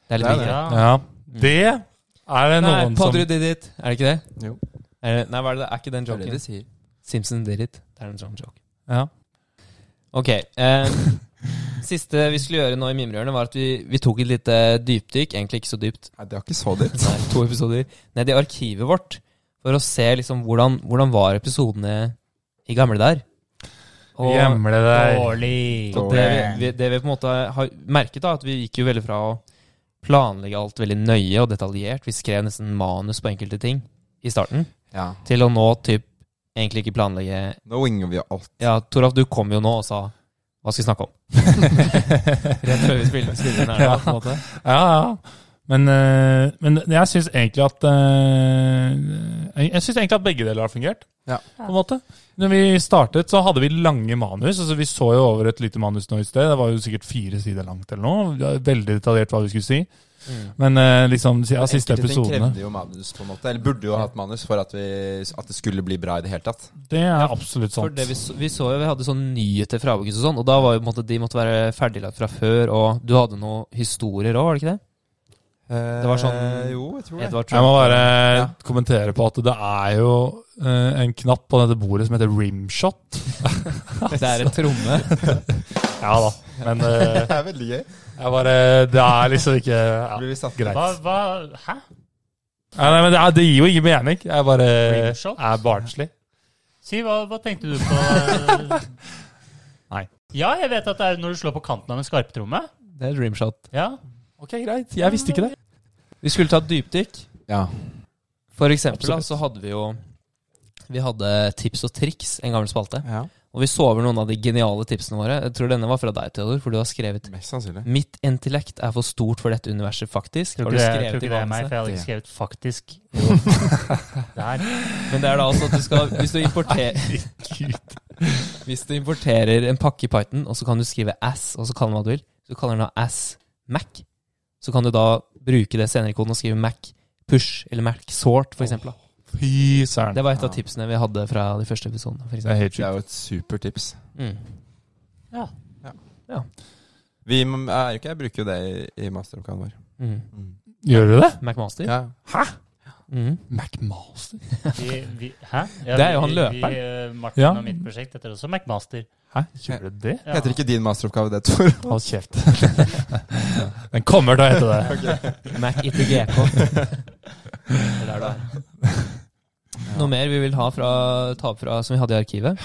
S3: Det er litt
S4: Det er
S3: viktig.
S4: det.
S2: Ja.
S5: Ja. Det er det
S3: Nei,
S5: noen som
S3: Podder did it. Er det ikke det?
S4: Jo,
S3: Er det, nei, hva er det? Er ikke den
S4: det er det
S3: joken?
S4: de sier.
S3: Simpson did it. Det er en sånn joke.
S5: ja.
S3: Ok. Eh, siste vi skulle gjøre nå i Mimrehjørnet, var at vi, vi tok et lite dypdykk. Egentlig ikke så dypt.
S4: Nei, det var ikke så dyrt.
S3: Nei, to episoder. Ned i arkivet vårt. For å se liksom hvordan, hvordan var episodene i gamle der. Og
S5: Gjemle deg.
S2: Dårlig.
S3: og det, vi, vi- det vi på en måte har merket, da, at vi gikk jo veldig fra å planlegge alt veldig nøye og detaljert. Vi skrev nesten manus på enkelte ting i starten,
S4: Ja.
S3: til å nå typ egentlig ikke planlegge
S4: Nå winger vi alt.
S3: Ja, Toralf, du kom jo nå og sa hva skal vi snakke om? Rett før vi spiller, spiller den her. da, på en måte.
S5: Ja, ja. Men, eh, men jeg syns egentlig at eh, Jeg synes egentlig at begge deler har fungert.
S4: Ja.
S5: På en måte. Når vi startet, så hadde vi lange manus. Altså, vi så jo over et lite manus nå i sted. Det var jo sikkert fire sider langt eller noe. Det var Veldig detaljert hva vi skulle si.
S3: Mm.
S5: Men eh, liksom, ja, siste
S4: Enkelte ting
S5: episodene
S4: krevde jo manus, på en måte. Eller burde jo ha hatt manus for at, vi, at det skulle bli bra i det hele tatt.
S5: Det er absolutt
S3: For
S5: sant.
S3: det vi, så, vi så jo vi hadde sånn nyheter fra Abokus og sånn, og da var jo på en måte de måtte være ferdiglagt fra før, og du hadde noen historier òg, var det ikke det?
S4: Det
S3: var sånn-
S4: Eh, Jo, jeg tror det.
S3: Edvard
S5: Jeg
S3: Trump.
S5: må bare
S4: Ja.
S5: kommentere på at det er jo eh, en knapp på dette bordet som heter rimshot.
S3: Det er en tromme.
S5: Ja da. Men eh,
S4: Det er veldig gøy.
S5: jeg bare Det er liksom ikke ja.
S4: Blir vi satt
S5: Greit.
S2: Hva, hva, hæ?
S5: Nei, nei, men det, er- det gir jo ingen mening. Jeg bare
S2: Rimshot?
S5: er barnslig.
S2: Si, hva, hva tenkte du på?
S5: Nei.
S2: Ja, jeg vet at det er når du slår på kanten av en skarptromme.
S3: Det er et dreamshot.
S2: Ja.
S5: Ok, greit. Jeg visste ikke det.
S3: Vi skulle ta et dypdykk.
S4: Ja.
S3: For eksempel da, så hadde vi jo Vi hadde tips og triks, en gammel spalte.
S4: ja.
S3: Og vi så over noen av de geniale tipsene våre. Jeg tror denne var fra deg, Theodor, for du har skrevet
S4: Mest sannsynlig.
S3: Mitt intellekt er for stort for dette universet, faktisk.
S2: Tror ikke
S3: Har du
S2: det, jeg tror
S3: skrevet i
S2: ikke det er meg,
S3: manuset?
S2: for jeg hadde ikke skrevet 'faktisk'. Der.
S3: Men det er da altså at du skal Hvis du importerer Hvis du importerer en pakke i Python, og så kan du skrive ass, og så kaller den hva du vil, så kaller den da ass Mac. Så kan du da bruke det senere i koden og skrive Mac push eller Mac sort, for eksempel. Da.
S5: Fy søren.
S3: Det var et av tipsene vi hadde fra de første episodene. For
S5: Det er
S3: eksempel.
S5: helt
S4: Det
S5: sjukt.
S4: er jo et supert tips.
S3: mm.
S4: Vi m- er jo ikke, jeg bruker jo det i, i masteroppgaven vår.
S3: Mm.
S5: Gjør du det?
S3: McMaster.
S4: Ja.
S3: Mm.
S5: McMaster.
S2: Vi, vi, hæ?
S3: Det er jo han
S2: vi-
S3: løperen.
S2: Vi, eh, Martin
S5: Ja.
S2: og mitt prosjekt heter også McMaster.
S5: Hæ, gjør du det?
S2: Ja.
S4: Heter ikke din masteroppgave det, Tor?
S5: Hold kjeft. Den kommer til å hete det.
S3: Mac ikke GK.
S2: Eller er det han?
S3: Noe mer vi vil ha fra, ta opp fra som vi hadde i arkivet?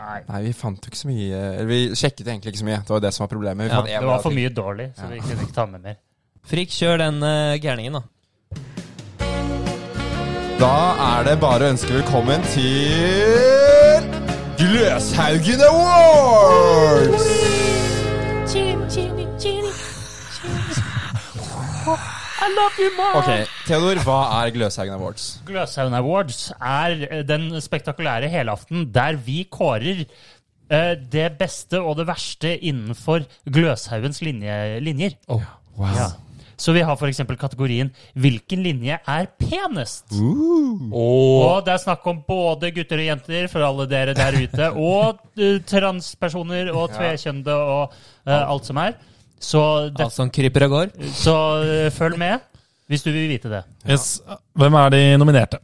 S2: Nei.
S4: Nei, vi fant jo ikke så mye Eller vi sjekket egentlig ikke så mye. Det var jo det som var problemet. Vi
S3: Ja,
S4: fant en
S2: Det
S4: eller
S2: var
S4: annen
S2: for
S4: ting.
S2: mye dårlig, så vi kunne ikke ta med mer.
S3: Frikk, kjør den eh, gærningen, da.
S4: Da er det bare å ønske velkommen til Gløshaugen Awards! Ok, Theodor, hva er Gløshaugen Awards?
S2: Gløshaugen Awards er eh, den spektakulære helaften der vi kårer eh, det beste og det verste innenfor Gløshaugens linje, linjer.
S4: Wow.
S2: Ja. Så vi har f.eks. kategorien 'Hvilken linje er penest?'
S5: Åh,
S2: Og det er snakk om både gutter og jenter, for alle dere der ute, og eh, transpersoner og tvekjønde og eh, alt som er. Så, det,
S3: Alt som kryper og går.
S2: så eh, følg med hvis du vil vite det.
S5: yes. Hvem er de nominerte?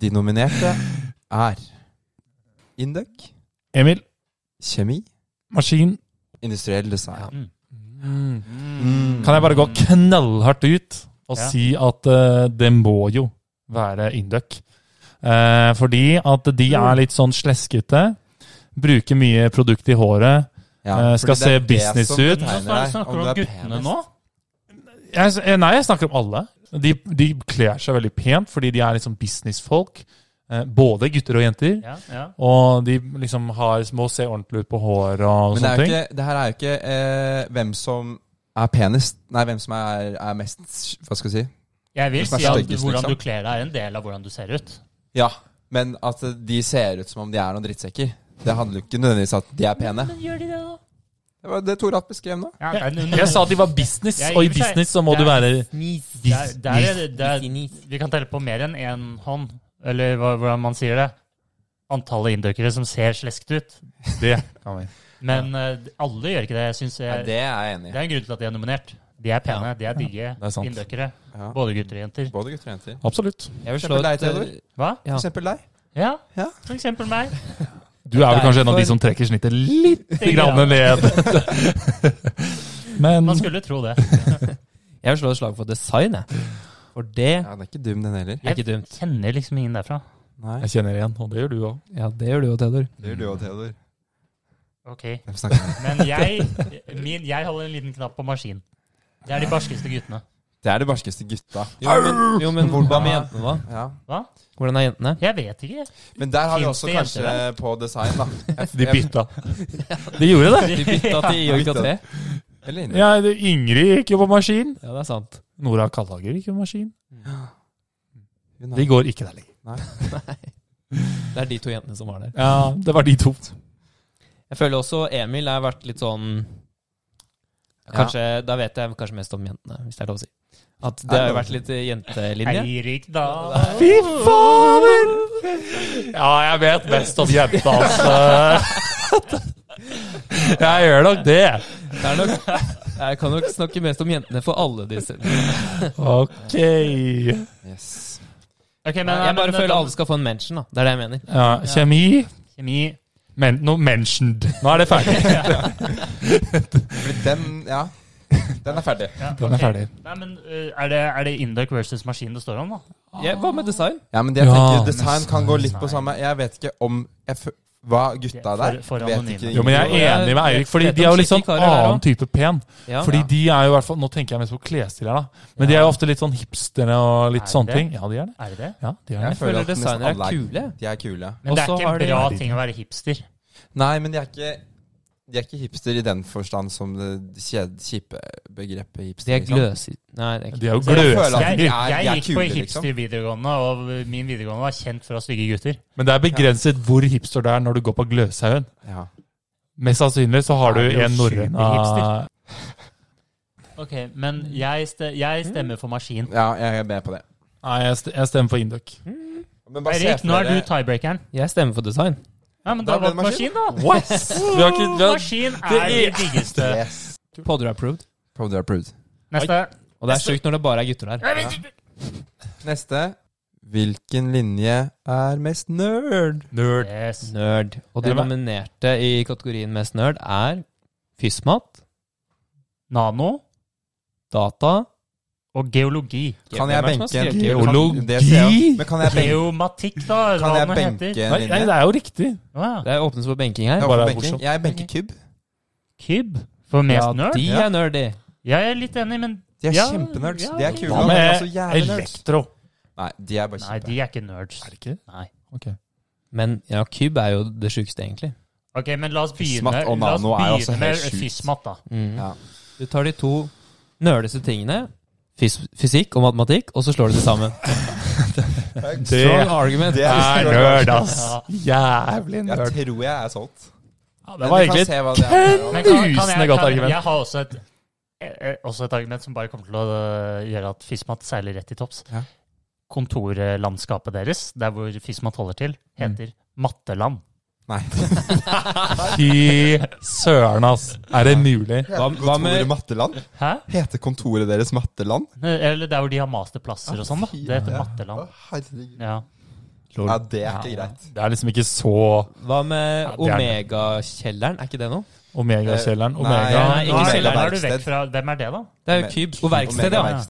S4: De nominerte er Induc,
S5: Emil.
S4: kjemi,
S5: Maskin.
S4: industriell design. Mm.
S5: Kan jeg bare gå knallhardt ut og
S2: Ja.
S5: si at eh, det må jo være Induc. Eh, fordi at de
S4: Mm.
S5: er litt sånn sleskete. Bruker mye produkt i håret. Eh,
S4: fordi
S5: skal
S4: det er
S5: se
S4: det
S5: business
S4: som
S5: ut.
S4: betegner
S2: Hva
S4: deg,
S2: snakker
S4: om
S2: du om
S4: du er
S2: guttene
S4: penest.
S2: nå?
S5: Jeg, s- eh, nei, jeg snakker om alle. De, de kler seg veldig pent fordi de er liksom businessfolk. Eh, både gutter og jenter.
S2: Ja, ja.
S5: Og de liksom har, må se ordentlig ut på håret og
S4: Men det,
S5: sånne
S4: er jo
S5: ting.
S4: ikke, det her er jo ikke eh, hvem som er penest Nei, hvem som er, er mest Hva skal jeg si?
S2: Jeg vil
S4: Som er
S2: si at
S4: styggest,
S2: hvordan
S4: liksom.
S2: du kler deg, er en del av hvordan du ser ut.
S4: Ja, men at de ser ut som om de er noen drittsekker. Det handler jo ikke nødvendigvis at de er pene.
S2: Men gjør de det, da?
S4: Det var det Tor Hatt beskrev nå.
S2: Ja, det er noen-
S5: Jeg sa at de var business,
S2: Jeg-
S5: og i
S2: i og for seg,
S5: business så må
S2: det
S5: du
S2: er-
S5: være
S3: Nis.
S2: Det er- det er- det er-
S3: Nis.
S2: Vi kan telle på mer enn én hånd, eller hva- hvordan man sier det. Antallet inndøkere som ser slesket ut.
S5: Det
S2: Men eh, alle gjør ikke det. Jeg synes jeg, det,
S4: det er jeg enig
S2: er en grunn til at de er nominert. De er pene, de er digge
S5: det er sant.
S2: inndøkere.
S4: Ja.
S2: Både gutter og jenter.
S4: Både gutter og jenter.
S5: Absolutt.
S3: Jeg vil
S4: For
S3: slå
S4: eksempel
S3: et eh,
S4: deg, Theodor.
S2: Hva?
S3: Ja.
S4: For eksempel deg.
S2: Ja,
S4: Ja.
S2: for eksempel meg.
S5: Du er vel kanskje en av de
S3: Derfor-
S5: som trekker snittet litt
S2: Lite
S5: grann
S2: grann.
S5: ned. Men
S2: Man skulle tro det.
S3: Jeg vil slå et slag for design, jeg. For det
S4: Ja, Den er ikke dum, den heller.
S3: er ikke dumt.
S2: Kjenner liksom ingen derfra.
S4: Nei.
S5: jeg kjenner igjen, og det gjør du òg.
S3: Ja, det gjør du jo, Theodor.
S4: Det gjør du òg, Theodor.
S2: Ok.
S4: Hvem snakker om?
S2: Men jeg, min, jeg holder en liten knapp på maskin. Det er de barskeste guttene.
S4: Det er de barskeste gutta.
S3: Jo, men, jo, men hvordan med jentene, da?
S4: Ja.
S3: Hvordan er jentene?
S2: Jeg vet ikke.
S4: Men der har vi
S2: Finnes
S4: også
S2: det jenter
S4: kanskje på design, da.
S5: De bytta. De gjorde det.
S3: De bytta til IOK3.
S4: Eller inne.
S5: Ja, det- Ingrid gikk jo på maskin.
S3: Ja, det er sant.
S5: Nora Kallager gikk jo på maskin.
S4: Hun er-
S5: De går ikke der lenger.
S3: Det er de to jentene som var der.
S5: Ja, det var de to.
S3: Jeg føler også Emil har vært litt sånn Kanskje, Da vet jeg kanskje mest om jentene, hvis det er lov å si. At det har jo vært litt jentelinje.
S2: Eirik Dahl.
S5: Fy fader! Ja, jeg vet best om jenta, altså. Jeg gjør nok det.
S3: Det er nok, jeg kan nok snakke mest om jentene for alle disse.
S5: Ok.
S4: Yes.
S2: Ok, men,
S3: Jeg bare
S2: men-
S3: føler alle skal få en mention, da. Det er det jeg mener.
S5: Ja, kjemi.
S2: Kjemi.
S5: Men, no, mentioned. Nå er det ferdig.
S4: Fordi den Ja. Den er ferdig.
S2: Ja,
S5: Den er
S2: ok.
S5: ferdig.
S2: Nei, men uh, Er det, er det Induc versus maskin det står om, da?
S3: Ja, hva med design?
S4: Ja, men det jeg
S5: Ja,
S4: tenker
S5: men
S4: design kan gå litt på samme Jeg vet ikke om jeg fø- hva gutta
S2: For-
S4: der
S2: for
S4: vet
S2: anonyme.
S4: ikke.
S5: Jo, men jeg er enig med Eirik, fordi de er jo litt sånn annen type pen.
S3: Ja.
S5: Fordi de er jo i hvert fall, Nå tenker jeg mest på klesstil her, da. Men de er jo ofte litt sånn hipstere og
S2: Er
S5: litt
S2: de
S5: sånne
S2: det?
S5: ting. Ja, de er det.
S2: Er det det?
S5: Ja, de er
S4: Jeg
S5: det.
S4: føler
S3: føler
S4: at nesten
S3: designere er
S4: alle er-
S3: kule.
S4: De er kule.
S2: Men det
S3: Også
S2: er ikke
S3: har
S2: en
S3: de-
S2: bra ting å være hipster.
S4: Nei, men de er ikke De er ikke hipster i den forstand som det kjed- kjipe begrepet hipster.
S3: De er
S4: liksom.
S3: gløser... Nei, det er ikke
S5: De er jo
S2: Så jeg
S4: føler at-
S5: gløsende.
S2: Jeg,
S4: de
S2: jeg,
S4: er- de er
S2: gikk
S4: kule,
S2: på hipster i videregående, og min videregående var kjent for å ha stygge gutter.
S5: Men det er begrenset hvor hipster det er når du går på Gløshaugen.
S4: Ja.
S5: Mest sannsynlig så har
S2: Ja,
S5: du
S2: det er jo
S5: en norrøna
S2: superhipster. Ok, Men jeg, ste- jeg stemmer for maskin.
S4: ja, jeg er med på det.
S5: Nei, jeg st- jeg stemmer for Induc.
S4: Men
S2: Eirik, nå er du tiebreakeren.
S3: Jeg Mm. stemmer for design.
S2: Ja, men
S4: Da
S2: da,
S4: ble
S2: var
S4: det
S2: det maskin, da.
S5: What? Vi har ikke, vi har,
S2: Maskin
S5: Det
S2: er det
S5: er-
S2: diggeste.
S3: Podder approved.
S4: Powder approved.
S2: Neste.
S3: Og det er sjukt når det bare er gutter her.
S4: Neste. Hvilken linje er mest nerd?
S5: nerd.
S2: Yes.
S3: Nerd. Og de
S5: Hvem er-
S3: nominerte i kategorien mest nerd er Fysmat,
S2: Nano
S3: Data
S2: og geologi.
S4: Kan jeg
S3: Hvem er det som har
S4: benke en
S3: skrevet geologi?
S5: Geologi?
S4: Det ser jeg. Men kan jeg benke,
S2: Geomatikk,
S4: kan
S2: da. hva
S4: jeg
S2: den heter.
S4: benke en
S5: Nei, nei,
S4: linje?
S5: det er jo riktig.
S2: Å, ja.
S3: Det er åpnes for benking
S4: Jeg
S3: her.
S5: bare
S4: håper
S5: er
S4: benking.
S5: morsomt.
S4: Jeg benker kubb.
S2: Kyb. For mest
S3: Ja,
S2: nerd?
S3: de
S4: Ja.
S3: er nerdy.
S2: Jeg er litt enig, men
S4: De er
S2: Ja,
S4: kjempenerds.
S2: ja,
S4: De er
S2: ok.
S4: kule.
S5: Hva
S4: men de er så
S5: med
S4: jævlig nerds.
S5: elektro?
S4: Nei, de er bare
S2: Nei,
S4: kjempe.
S2: de er ikke nerds.
S5: Er det ikke det?
S2: Nei.
S5: Ok.
S3: Men ja, Cube er jo det sjukeste, egentlig.
S2: Ok, men la oss begynne,
S4: Fysmat og
S2: la oss
S4: Nano er jo også
S2: begynne
S4: helt
S2: med
S4: sjukt.
S2: Fysmat, da.
S3: Mm.
S4: Ja.
S3: Du tar de to nerdeste tingene, fys fysikk og matematikk, og så slår du det sammen.
S5: Det
S3: Strong argument.
S4: Det
S5: er nerd, ass. Jævlig
S4: Jeg
S5: nerd.
S4: tror jeg er solgt.
S5: Ja,
S4: Men
S5: det var
S4: vi kan
S5: egentlig
S4: se hva det er.
S2: Men kan- kan jeg-
S5: Lysende godt
S2: kan-
S5: argument.
S2: Jeg har også et, eh, også et argument som bare kommer til å eh, gjøre at Fysmat seiler rett i topps.
S4: Ja.
S2: Kontorlandskapet deres, der hvor Fysmat holder til,
S4: Mm.
S2: heter Matteland.
S4: Nei.
S5: Fy søren, ass. Er det mulig?
S3: Hva, hva
S4: Kontoret
S3: med
S4: Matteland?
S2: Hæ?
S4: Heter kontoret deres Matteland?
S2: Eller der hvor de har masterplasser
S4: Ah,
S2: og sånn, da. Det
S4: Å,
S2: heter Matteland.
S4: herregud.
S2: Ja.
S4: Ja, det er ikke
S2: Ja.
S4: greit.
S5: Det er liksom ikke så
S3: hva med
S5: Ja, det er nerd.
S3: Omegakjelleren? Er ikke det noe?
S5: Omega-kjelleren.
S4: Eh,
S5: Omega.
S3: nei,
S2: Nå
S3: ikke
S2: er,
S3: Omega
S2: nå er du vekk
S4: Verksted.
S2: fra Hvem er det, da?
S3: Det er jo
S4: Ome-
S3: Cube. Og verksted, ja.
S2: Omega.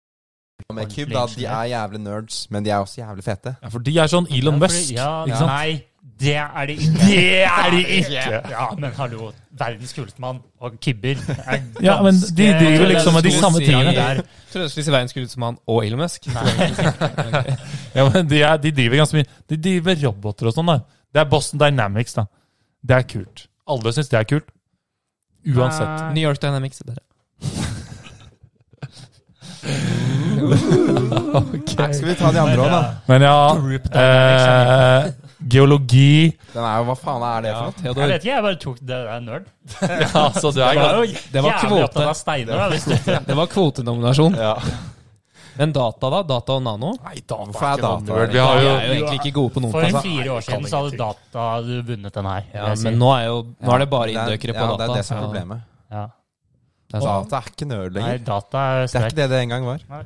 S4: Med Cube, da. De er jævlig nerds, men de er også jævlig fete.
S5: Ja, for de er sånn Elon
S2: Ja, fordi-
S5: Musk,
S2: Ja,
S5: ikke sant?
S2: Nei, det er det ikke.
S5: Det er de ikke!
S2: Ja, men hallo. Verdens kuleste mann og kibber.
S5: Ja, men de driver liksom med de samme tingene.
S2: der.
S3: Trøndeslags Svein skulle ut som han og Elon Musk.
S5: Ja, men de, er, de driver ganske mye De driver med roboter og sånn, da. Det er Boston Dynamics, da. Det er kult. Alle syns det er kult. Uansett.
S3: New York Dynamics. det er det.
S4: Skal vi ta de andre òg, da?
S3: Ah.
S5: Men ja eh, Geologi
S4: Den er jo, Hva faen er det for noe?
S2: Jeg
S3: Theodor.
S2: vet ikke, jeg bare tok det der nerd.
S5: Ja, så du er
S2: Jeg var
S5: glad.
S2: jo
S3: det var
S2: jævlig
S3: kvote.
S2: opptatt av steiner. Da, hvis du,
S3: Det var kvotenominasjon.
S4: Ja.
S3: Men data, da? Data og nano?
S5: Nei, data
S4: Hvorfor er
S5: ikke noe
S4: data-
S5: nerd. Vi
S3: Vi
S5: har jo
S3: er jo egentlig ikke gode på noen.
S2: for
S3: ting.
S2: fire år siden så hadde data du vunnet den her. vil
S3: Ja,
S2: jeg si.
S3: men nå er, jo, nå er det bare
S4: Det er-
S3: inndøkere på
S4: ja,
S3: data.
S4: Det er det som er
S3: så-
S4: problemet.
S2: ja.
S3: det er sant.
S4: Data er ikke nerd
S2: Nei,
S4: lenger.
S2: data er
S4: Det er
S2: sterk.
S4: ikke det det en gang var.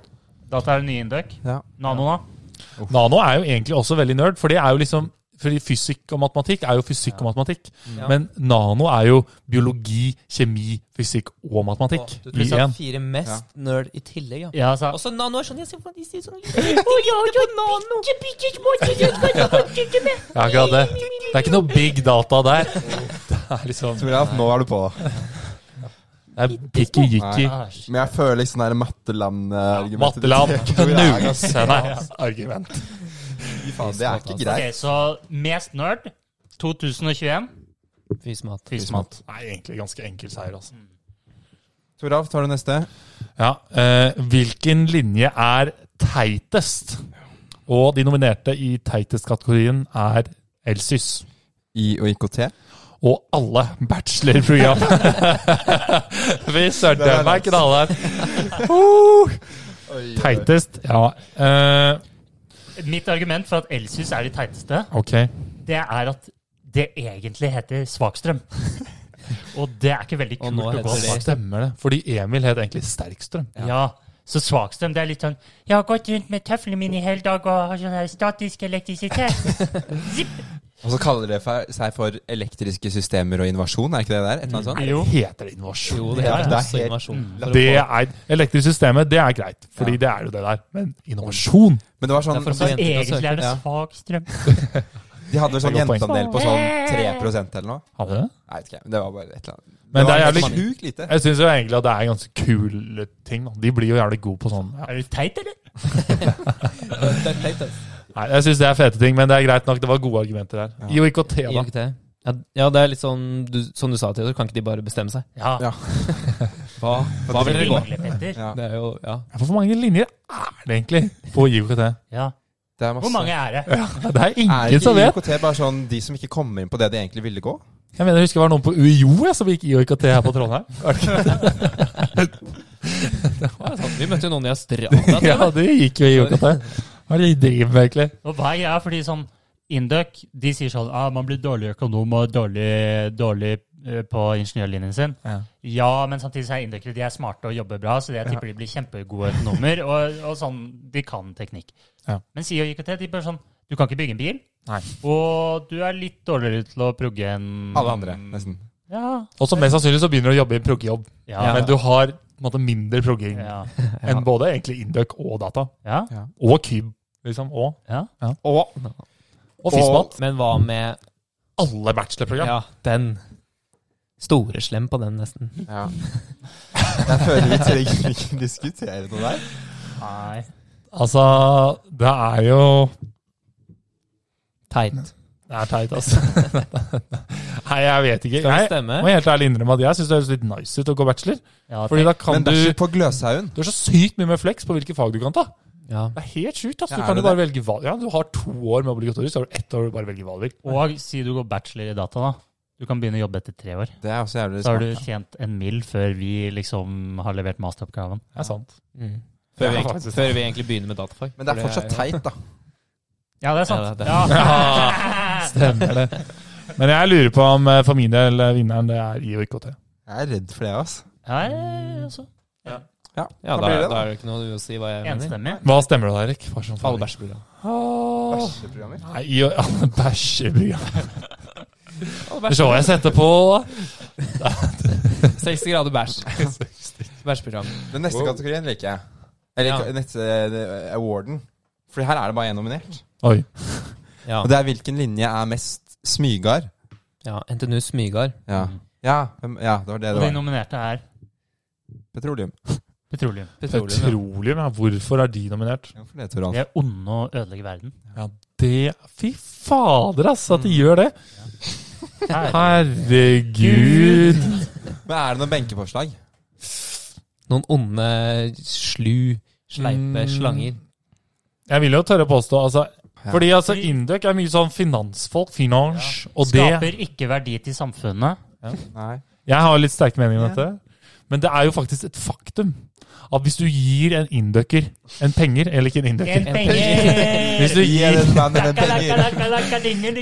S2: Data er en ny indøk.
S4: Ja.
S2: Nano, da?
S5: Nano er jo egentlig også veldig nerd, for det er jo liksom fordi fysikk og matematikk er jo fysikk og matematikk.
S3: Ja.
S5: Men nano er jo biologi, kjemi, fysikk og matematikk.
S3: Du
S5: I
S3: tror jeg
S5: én.
S3: fire mest nerd i tillegg, ja.
S2: Ja, så,
S3: Og så nano er sånn Jeg ser på de sier sånn
S5: Ja, akkurat det. Det er ikke noe big data der. Det er liksom Det
S4: Toralf, nå er du på.
S5: er pikki-jikki.
S2: Ah, shit.
S4: Men jeg føler liksom det er Matteland-argumentet.
S5: Matteland knuse deg.
S4: Det er ikke
S2: Ok,
S4: greit.
S2: så mest nerd 2021.
S3: Fysmat.
S2: Fysmat.
S5: Nei, egentlig ganske enkel seier, altså.
S4: Toralf, tar du neste?
S5: Ja, eh, hvilken linje er teitest? Og de nominerte i teitest-kategorien er Elsys.
S4: I og IKT.
S5: og alle bachelorprogram. Vi sølte meg ikke alle her. Uh, Teitest. Ja. eh,
S2: Mitt argument for at Elsys er de teiteste,
S5: ok.
S2: det er at det egentlig heter Svakstrøm. Og det er ikke veldig
S3: Og
S2: kult
S3: nå
S2: å gå
S3: heter det-
S2: svakt.
S5: Stemmer det. Fordi Emil het egentlig Sterkstrøm.
S2: Ja. Så svakstrøm, det er litt sånn Jeg har gått rundt med tøflene mine i hele dag og har sånn her statisk elektrisitet.
S4: Og så kaller det for- seg for elektriske systemer og innovasjon, er ikke det der? Et eller annet sånt?
S2: Jo.
S5: Heter det innovasjon?
S3: Jo, det Mm.
S4: Ja,
S3: heter
S4: det er
S3: også
S4: helt-
S3: innovasjon. For å
S5: Det
S3: få-
S5: er, elektrisk systemet, det er greit, fordi det er jo det der. Men innovasjon
S4: Men det var
S3: Det er for
S4: sånn,
S3: å få
S2: Så
S3: jenter til å
S2: egentlig er det
S4: Ja.
S2: svakstrøm.
S4: De hadde vel sånn
S5: Det er godt poeng.
S4: jenteandel på sånn 3 eller noe.
S5: Hadde det?
S4: Nei, vet ikke, jeg, men det var bare et eller annet.
S5: Men det
S4: var
S5: er
S4: helt
S5: jævlig-
S4: sjukt lite.
S5: Jeg syns egentlig at det er ganske kule ting. Da. De blir jo jævlig gode på sånn. Ja.
S2: Er du teit, eller?
S3: Det er teit, ass.
S5: Nei, jeg syns det er fete ting, men det er greit nok. Det var gode argumenter der.
S4: Ja.
S5: I og IKT, da.
S3: IKT. Ja, ja, det er litt sånn du, Som du sa, Theodor, kan ikke de bare bestemme seg?
S2: Ja.
S4: Ja.
S3: Hva, hva vil dere gå?
S2: Rimelig, Petter.
S4: Ja.
S3: Det er jo Ja.
S5: Ja, for Hvor mange linjer er det egentlig på IOKT?
S2: Ja.
S4: Det er masse.
S2: Hvor mange er det?
S5: Det er
S4: Er
S5: ingen
S4: ikke
S5: som vet.
S4: IKT bare sånn de som ikke kommer inn på det de egentlig ville gå?
S5: Jeg mener, jeg husker det var noen på UiO jeg, som gikk IOKT her på Trondheim. Var det ikke?
S3: Vi møtte jo noen i Australia.
S5: Ja, de gikk jo IOKT. Hva er det de driver med, egentlig?
S2: Og hva er greia? Fordi sånn Induc de sier sånn ah, man blir dårlig økonom og dårlig, dårlig eh, på ingeniørlinjen sin.
S5: Ja.
S2: men samtidig så er Inducere de er smarte og jobber bra, så jeg tipper de blir kjempegode økonomer. Og, og sånn, de kan teknikk.
S5: Ja.
S2: Men SIO og IKT de bare sånn Du kan ikke bygge en bil,
S5: Nei.
S2: og du er litt dårligere til å progge enn
S4: Alle andre, nesten.
S2: Ja.
S5: Og så mest sannsynlig så begynner du å jobbe i en proggejobb.
S2: Ja.
S5: Men du har på en måte mindre progging
S2: ja.
S5: enn både egentlig Induc og data.
S2: ja.
S5: Og Cube, liksom. Og,
S2: ja.
S4: Og
S5: og Fismat.
S3: Men hva med
S5: Alle bachelorprogram.
S3: ja, den store slem på den, nesten?
S4: ja. Jeg føler vi trenger ikke diskutere noe der.
S2: Nei.
S5: Altså, det er jo
S3: Teit.
S5: Det er teit, altså. Nei, jeg vet ikke.
S3: Skal vi
S5: Jeg
S3: stemme?
S5: må helt ærlig innrømme at jeg syns det høres litt nice ut å gå bachelor.
S2: Ja,
S5: Fordi da kan
S4: Men
S5: du
S4: det er
S5: Du
S4: ikke på Gløshaugen.
S5: har så sykt mye mer flex på hvilke fag du kan ta.
S3: Ja.
S5: Det er helt sjukt. Altså.
S4: Ja,
S5: Du
S4: er
S5: kan jo
S4: det
S5: bare velge hva Ja, du har to år med obligatorisk, så har du ett år hvor du bare velger hva du vil.
S2: Og si du går bachelor i data, da. Du kan begynne å jobbe etter tre år.
S4: Det er også jævlig
S2: Så har
S4: smart.
S2: du tjent en mil før vi liksom har levert masteroppgaven.
S5: Det er sant.
S3: Mm.
S5: Ja,
S3: Før, vi egentlig,
S5: faktisk.
S3: før vi egentlig begynner med datafag.
S4: Men det er fortsatt teit, da.
S2: Ja, det er
S3: sant. Ja,
S2: sant.
S3: det er-
S5: Stemmer det. Men jeg lurer på om eh, for min del eh, vinneren det er I og IKT.
S4: Jeg er redd for det, ass.
S2: altså.
S4: Ja,
S3: Ja,
S4: da
S3: da,
S4: blir det
S3: da
S4: da.
S3: er det ikke noe å si hva jeg mener.
S2: Enstemmig.
S5: Hva stemmer det da, Erik? Bare sånn for-
S3: Alle bæsjeprogram.
S5: Åh.
S4: Bæsjeprogrammer.
S5: Nei, I og ja, bæsjeprogram. Det så jeg sette på.
S3: 60 grader bæsj. Bæsjprogram.
S4: Den neste kategorien liker jeg. Eller
S3: Ja.
S4: ka- neste eh, aworden. For her er det bare én nominert.
S5: Oi.
S3: Ja.
S4: Og det er hvilken linje er mest smygard.
S3: ja. NTNU Smygard.
S4: Ja.
S2: Mm.
S4: Ja, hvem- ja, det var det
S2: Og
S4: det
S2: de
S4: var.
S2: nominerte er
S4: Petroleum.
S2: petroleum.
S3: Petroleum. ja.
S5: Petroleum, ja. Hvorfor er de nominert?
S4: Hvorfor det, Toran?
S2: Det er onde å ødelegge verden.
S5: Ja, det Fy fader, ass, at de gjør det!
S2: Her.
S5: Herregud!
S4: Men er det noen benkeforslag?
S3: Noen onde, slu, sleipe
S5: Mm.
S3: slanger.
S5: Jeg vil jo tørre å påstå, altså
S4: Ja.
S5: Fordi altså, Induc er mye sånn finansfolk, finans, og det
S2: Skaper ikke verdi til samfunnet.
S4: Nei.
S5: Jeg har litt sterke meninger om
S4: Ja.
S5: dette. Men det er jo faktisk et faktum at hvis du gir en inducker en penger Eller ikke en inducker. Hvis du
S4: Gi
S5: gir,
S4: den mannen en penger.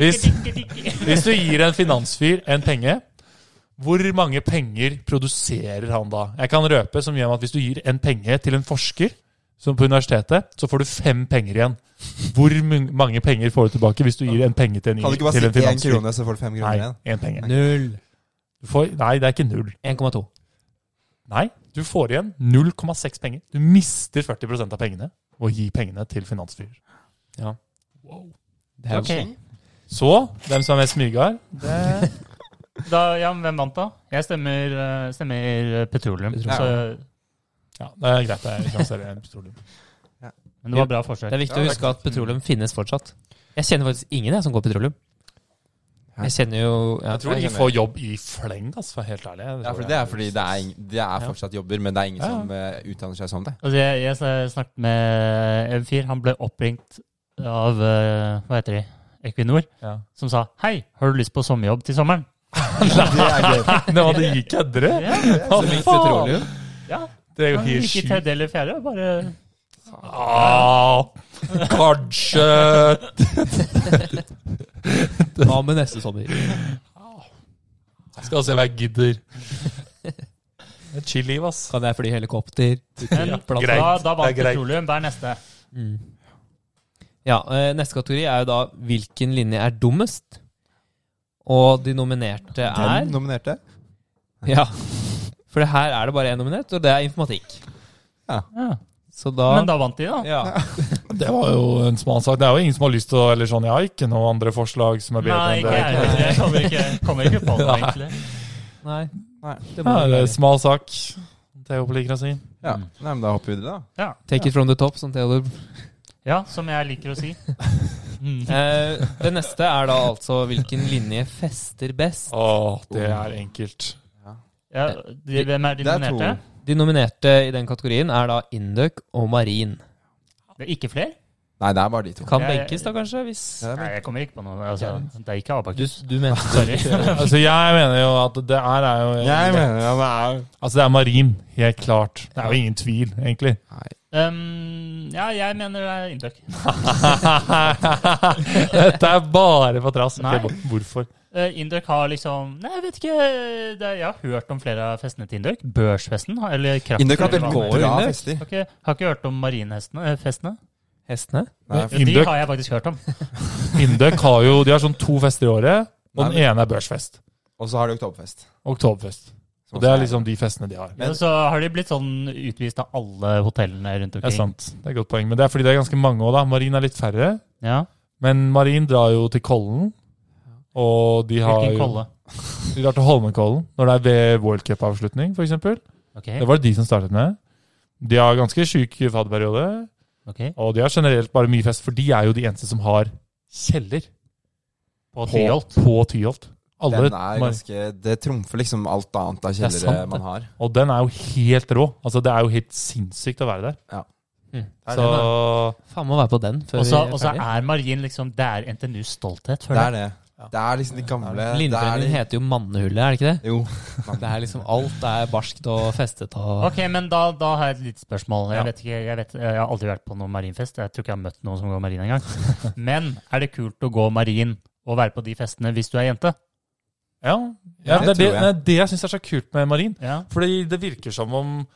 S5: Hvis- hvis du gir en finansfyr en penge, hvor mange penger produserer han da? Jeg kan røpe som gjør at hvis du gir en penge til en forsker som på universitetet, så får du fem penger igjen. Hvor mun- mange penger får du tilbake hvis du gir en penge til en,
S4: Kan du ikke bare
S5: til en
S4: si én
S5: finansfyr?
S4: krone, så får du fem kroner
S5: Nei,
S4: igjen?
S5: én penge.
S3: Null.
S5: Du får, nei, det er ikke null.
S3: 1,2.
S5: Nei, du får igjen 0,6 penger. Du mister 40 av pengene og gir pengene til finansfyrer.
S3: Ja.
S5: Wow.
S3: Det er jo sånn.
S2: Ok.
S5: Så hvem som er mest smygard?
S2: Da, ja, men hvem vant, da? Jeg stemmer, eh, stemmer eh, petroleum.
S4: Petroleum.
S2: Så,
S5: Ja, det er greit. Jeg lanserer en petroleum.
S2: men det var bra forsøk.
S3: Det er viktig å huske at petroleum finnes fortsatt. Jeg kjenner faktisk ingen jeg som går petroleum.
S4: Hæ?
S3: Jeg kjenner jo ja,
S5: Jeg tror de
S4: jeg
S5: får jobb i fleng, altså, for å være helt ærlig.
S4: Ja, for det er fordi det er, ing- det er fortsatt jobber, men det er ingen
S5: Ja.
S4: som eh, utdanner seg som det.
S2: Altså, jeg, jeg sn- snakket med en fyr. Han ble oppringt av eh, Hva heter de? Equinor.
S5: Ja.
S2: Som sa 'Hei, har du lyst på sommerjobb til sommeren?'
S4: Det er gøy.
S5: Nå, det gikk edre! Hva
S3: Så litt
S5: faen?
S3: petroleum.
S5: Det er jo helt
S2: Ikke
S5: sjukt.
S2: tredje eller fjerde, bare
S5: Ah, Kanskje
S3: Hva med neste sommer?
S5: Skal se hva jeg gidder. Det er chill liv, ass.
S3: Kan jeg fly helikopter?
S2: Men
S5: plass.
S2: da, da vant
S5: Det er greit.
S2: petroleum. Hva er neste?
S3: Mm. Ja, eh, Neste kategori er jo da hvilken linje er dummest? Og de nominerte er
S4: Den nominerte.
S3: Ja. For det her er det bare én nominert, og det er informatikk.
S2: Ja.
S3: Så da,
S2: Men da vant de, da.
S3: ja.
S5: Det var jo en smal sak. Det er jo ingen som har lyst til å Eller sånn, jeg har ikke noen andre forslag som er bedre
S2: Nei,
S5: enn
S2: ikke
S5: det.
S2: jeg heller. Jeg kommer ikke, kommer ikke på noe, egentlig.
S3: Nei.
S4: Nei.
S3: Det må
S5: Ja, det
S3: være.
S5: er smal sak. Theo liker å si.
S4: Ja.
S2: Mm.
S4: Nei, men da hopper vi videre, da.
S2: Ja.
S3: Take it from the top, som Theodor.
S2: ja, som jeg liker å si. Mm.
S3: Eh, det neste er da altså hvilken linje fester best.
S5: Å, det er enkelt.
S2: Ja, de, hvem er de
S4: Det er to.
S2: nominerte?
S3: De nominerte i den kategorien er da Induc og Marin.
S2: Det er ikke flere?
S4: Nei, det er bare de to.
S3: Kan
S2: Jeg-
S3: benkes da, kanskje? hvis...
S4: Det er
S2: Nei,
S4: vel-
S2: jeg kommer ikke på noe. Altså, det er ikke
S3: Du,
S2: Abakus.
S3: du mente
S2: Sorry.
S5: Altså, jeg mener jo at det her er jo
S4: Jeg mener ja, det er
S5: Altså, det er marin, helt klart. Det er jo ingen tvil, egentlig.
S4: Nei.
S2: Ehm, ja, jeg mener det er inntøkk.
S5: Dette er bare for trass.
S2: Nei.
S5: Ok, Hvorfor?
S2: Eh, Indøk har liksom Nei, jeg vet ikke. Det er, jeg har hørt om flere av festene til Indøk. Børsfesten har- eller kraft,
S4: Indøk har
S2: eller
S4: vært
S2: hva det
S4: bra
S3: Indøk.
S4: fester.
S2: heter. Har ikke, har ikke hørt om marinhestene. eh, Festene.
S3: Hestene?
S4: Nei,
S2: Ja, de
S5: Indøk.
S2: har jeg faktisk hørt om.
S5: Indøk har jo de har sånn to fester i året, og
S4: Nei,
S5: den ene er børsfest.
S4: Og så har de oktoberfest.
S5: Oktoberfest.
S4: som
S5: Og det
S4: også
S5: er liksom de festene de har.
S2: Men så har de blitt sånn utvist av alle hotellene rundt
S5: Det er
S2: omkring.
S5: sant. Det er et godt poeng. Men det er fordi det er ganske mange òg, da. Marin er litt færre.
S2: Ja,
S5: Men Marin drar jo til Kollen. Og de har
S2: Hvilken
S5: jo
S2: kolle?
S5: De drar til Holmenkollen når det er ved World Cup-avslutning, f.eks.
S2: Ok,
S5: Det var det de som startet med. De har ganske sjuk fadderperiode,
S2: ok.
S5: og de har generelt bare mye fest, for de er jo de eneste som har kjeller
S2: På
S5: på,
S2: Tyholt.
S5: på Tyholt. Alle,
S4: Den er ganske, det trumfer liksom alt annet av
S5: er sant,
S4: kjellere
S5: det.
S4: man har.
S5: og den er jo helt rå. Altså, det er jo helt sinnssykt å være der.
S4: Det er
S5: Så
S3: Faen må være på den før
S2: Og så og
S3: vi
S2: så
S3: er ferdig.
S2: er Marin liksom Det er NTNUs stolthet,
S4: Det
S2: føler jeg.
S4: er det. Det er liksom de gamle det er
S3: Lindbrennen
S4: de-
S3: heter jo Mannehullet, er det ikke det?
S4: Jo.
S3: Det er liksom Alt er barskt og festet og
S2: Ok, men da, da har jeg et lite spørsmål. Jeg,
S5: Ja.
S2: vet ikke, jeg, vet, jeg har aldri vært på noen marinfest. Jeg tror ikke jeg har møtt noen som går marin engang. Men er det kult å gå marin og være på de festene hvis du er jente?
S5: ja, ja,
S4: Ja,
S5: det, er
S4: det
S5: det,
S4: tror jeg.
S5: det er det jeg syns er så kult med Marin.
S2: Ja.
S5: Fordi det virker som om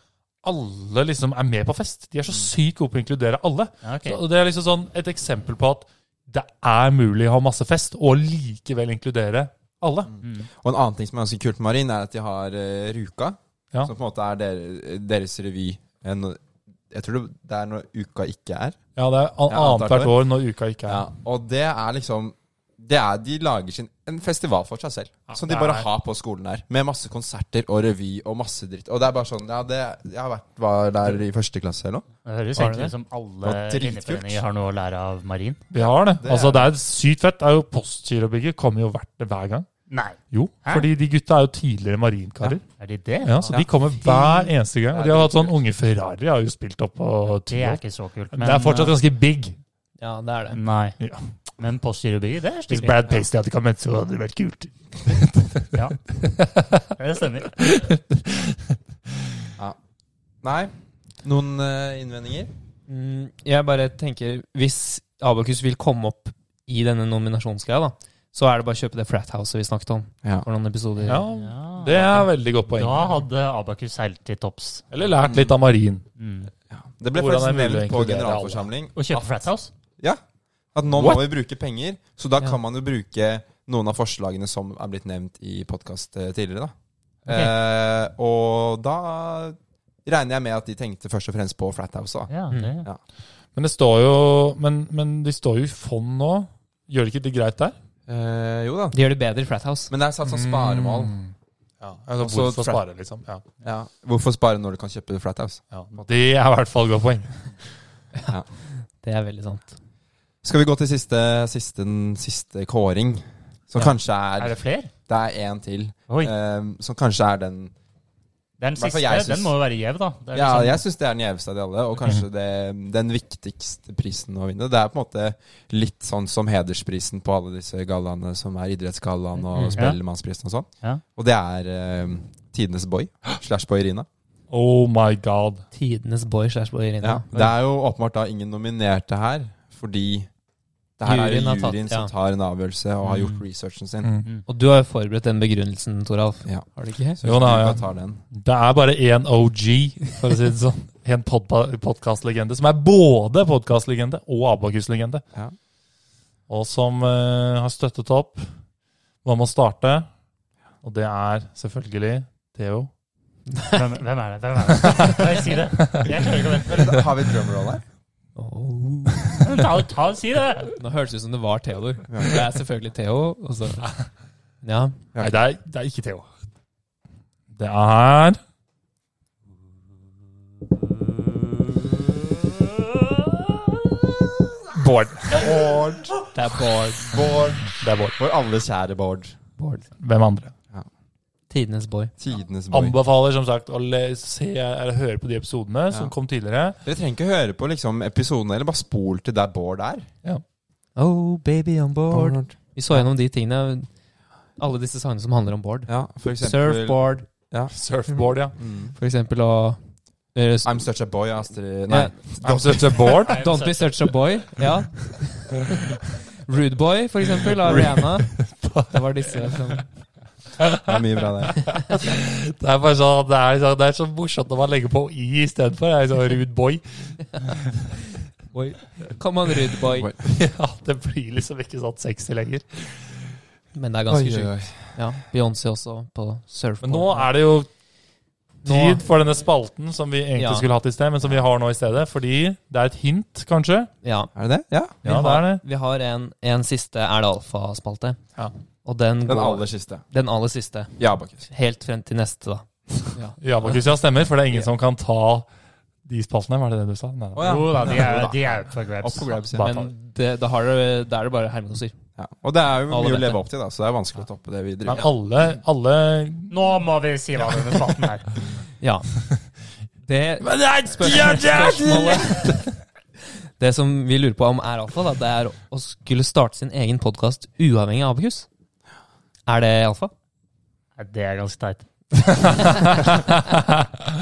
S5: alle liksom er med på fest. De er så
S4: Mm.
S5: sykt gode på å inkludere alle.
S2: Ja, ok.
S5: Så, og det er liksom sånn et eksempel på at det er mulig å ha masse fest og likevel inkludere alle.
S2: Mm.
S4: Og en annen ting som er ganske kult med Marin, er at de har eh, Ruka,
S5: Ja.
S4: som på en måte er der, deres revy. En, jeg tror det, det er når uka ikke er.
S5: Ja, det er an
S4: Ja,
S5: annethvert
S4: annethvert
S5: år når uka ikke
S4: Ja,
S5: er
S4: og det er liksom det er, De lager sin, en festival for seg selv,
S5: Ja,
S4: som de
S5: det
S4: bare
S5: er-
S4: har på skolen der. Med masse konserter og revy og masse dritt. Og det er bare sånn Ja, det, jeg har vært var der i første klasse eller noe.
S2: Det høres
S5: Har
S2: egentlig
S5: du det?
S2: ut som alle
S4: Det var dritkult.
S2: linjeforeninger har noe å lære av marin.
S5: Vi har det.
S4: Det
S5: altså,
S4: er-
S5: det er sykt fett. Det er jo Postkilobygget kommer jo hvert, hver gang.
S2: Nei,
S5: Jo,
S2: Hæ?
S5: fordi de gutta er jo tidligere marinkarer.
S2: er de det?
S5: Ja, så de kommer hver eneste gang. Og de har hatt sånn unge Ferrari har jo spilt opp på
S2: Det er
S5: Tyholt.
S2: ikke så kult.
S5: Det er fortsatt ganske big.
S3: Ja, det er
S2: eh,
S3: det.
S2: Nei.
S5: Ja.
S2: Men postgirobygget, det er
S5: Hvis
S2: stilig.
S5: Brad Paisley hadde kommet, så hadde det vært kult.
S2: Ja. Det stemmer.
S4: Nei. Noen eh, innvendinger?
S3: Mm, jeg bare tenker Hvis Abakus vil komme opp i denne nominasjonsgreia, da, så er det bare å kjøpe det Flathouset vi snakket om
S4: Ja.
S3: for noen episoder.
S5: Ja,
S2: Ja.
S5: det er veldig godt poeng.
S2: Da hadde Abakus seilt til topps.
S5: Eller lært litt av marin.
S2: Mm.
S4: Det ble
S5: Hvordan er
S4: faktisk
S5: det mulig å
S4: nevnt på
S5: inkludere
S4: generalforsamling
S2: Og kjøpe Frathouse?
S4: at nå
S5: What?
S4: må vi bruke penger, så da
S3: Ja.
S4: kan man jo bruke noen av forslagene som er blitt nevnt i podkast tidligere, da.
S2: Ok.
S4: Eh, og da regner jeg med at de tenkte først og fremst på Flathouse. da.
S2: Ja,
S3: Mm.
S2: det.
S5: Men det står jo Men, men de står jo i fond nå. Gjør det ikke det greit der?
S4: Eh, jo da.
S3: De gjør det bedre i Flathouse.
S4: Men det er satt som sparemål.
S5: Mm. Ja, altså,
S4: Også
S5: hvorfor
S4: fra-
S5: spare, liksom? Ja.
S4: Ja. Hvorfor spare når du kan kjøpe Flathouse?
S5: Ja. Det er i hvert fall et godt poeng.
S3: Det er veldig sant.
S4: Skal vi gå til siste, siste, siste kåring? Som kanskje er,
S2: Er det flere?
S4: Det er én til.
S2: Oi.
S4: eh, som kanskje er den
S2: Den
S4: hvert fall
S2: siste,
S4: jeg
S2: den
S4: syns-
S2: må jo være gjev, da. Det er
S4: Ja,
S2: liksom-
S4: jeg syns det er den gjeveste av de alle, og kanskje det, den viktigste prisen å vinne. Det er på en måte litt sånn som hedersprisen på alle disse gallaene som er idrettsgallaen og
S3: Mm.
S4: Spellemannsprisen og sånn.
S2: Ja.
S4: Og det er eh, tidenes boy slash boyerina.
S5: Oh my god.
S3: Tidenes boy slash boy
S4: Ja.
S3: Irina.
S4: Det er jo åpenbart da ingen nominerte her, fordi det her er
S3: Juryen har
S4: juryen
S3: tatt, ja.
S4: som tar en avgjørelse og har gjort
S5: Mm.
S4: researchen sin.
S5: Mm.
S3: Og du har jo forberedt den begrunnelsen, Toralf.
S4: Ja.
S3: Har du ikke?
S4: Så
S5: Jo, da, ja.
S4: vi tar den.
S5: Det er bare én OG, for å si det sånn. En podkastlegende som er både podkastlegende og Abakus-legende.
S4: Ja.
S5: Og som eh, har støttet opp. Hva må starte? Og det er selvfølgelig Theo.
S2: Hvem, hvem er det? Hvem er det? Kan jeg si det? Jeg klarer ikke å vente.
S4: Da Har vi et drumroll her?
S3: Oh.
S2: Men Ta, ta og si det!
S3: Nå hørtes det ut som det var Theodor. Det er selvfølgelig Theo. Og så.
S4: Ja.
S3: Ja.
S5: Nei, det er, det er ikke Theo. Det er Bård.
S4: Bård,
S3: Det er Bård.
S4: Bård,
S5: Det er Bård.
S4: vår alle kjære Bård.
S3: Bård.
S5: Hvem andre?
S3: Tidenes boy.
S4: Tidenes boy.
S5: Anbefaler som sagt å le- se, eller høre på de episodene som
S4: Ja.
S5: kom tidligere.
S4: Dere trenger ikke høre på liksom, episoden, eller bare spol til der Bård er.
S3: Oh, baby on board. Vi så gjennom de tingene. Alle disse sangene som handler om Bård.
S4: Ja, for eksempel
S3: Surfboard,
S5: Surfboard, ja.
S4: Mm.
S3: for eksempel, og eh, s-
S4: I'm such a boy, Astrid Nei.
S3: Ja.
S5: I'm such a board.
S3: Don't be such a boy. Ja. Rude Boy, for eksempel, av Rihanna. Det var disse som
S4: Det er mye bra, det.
S5: Det er bare sånn, det er, sånn, det er så morsomt når man legger på i istedenfor. Det er sånn rude boy.
S3: Boy. Come on, Rude Boy.
S4: Boy.
S5: Ja, det blir liksom ikke sånn sexy lenger.
S3: Men det er ganske
S4: Oi, oi,
S3: sjukt.
S4: oi.
S3: Ja, Beyoncé også på surfboard.
S5: Men nå er det jo
S3: Nå-
S5: tid for denne spalten som vi egentlig
S3: Ja.
S5: skulle hatt i sted, men som vi har nå i stedet. Fordi det er et hint, kanskje.
S3: Ja,
S4: Er det det? Ja.
S3: vi
S5: Ja, det
S3: har,
S5: er det.
S3: Vi har en, en siste Er det alfa-spalte.
S5: Ja.
S3: Og den går
S4: Den aller siste.
S3: den aller siste.
S4: Ja, Bakhus.
S3: Helt frem til neste, da.
S5: Ja, Markus, ja, stemmer. For det er ingen som kan ta de spaltene. Var det det du sa? Nei.
S4: Å, ja.
S2: Jo da, de er, de er oppe for
S4: Opp
S2: grabs.
S4: for grabs, ja.
S5: Bare ta
S3: Men det, da har dere- da er det bare hermedoser.
S4: ja. Og det er jo mye
S3: Alle vet
S4: å
S3: det.
S4: leve opp til, da, så det er vanskelig å toppe det vi
S5: Men
S4: driver med.
S5: alle, alle
S2: Nå må vi si hva denne spalten er.
S3: Ja. Det
S5: Spørsmålet
S3: Det som vi lurer på om er alfa, da, det er å skulle starte sin egen podkast uavhengig av Abekus. Er det alfa?
S2: Nei, Det er ganske teit.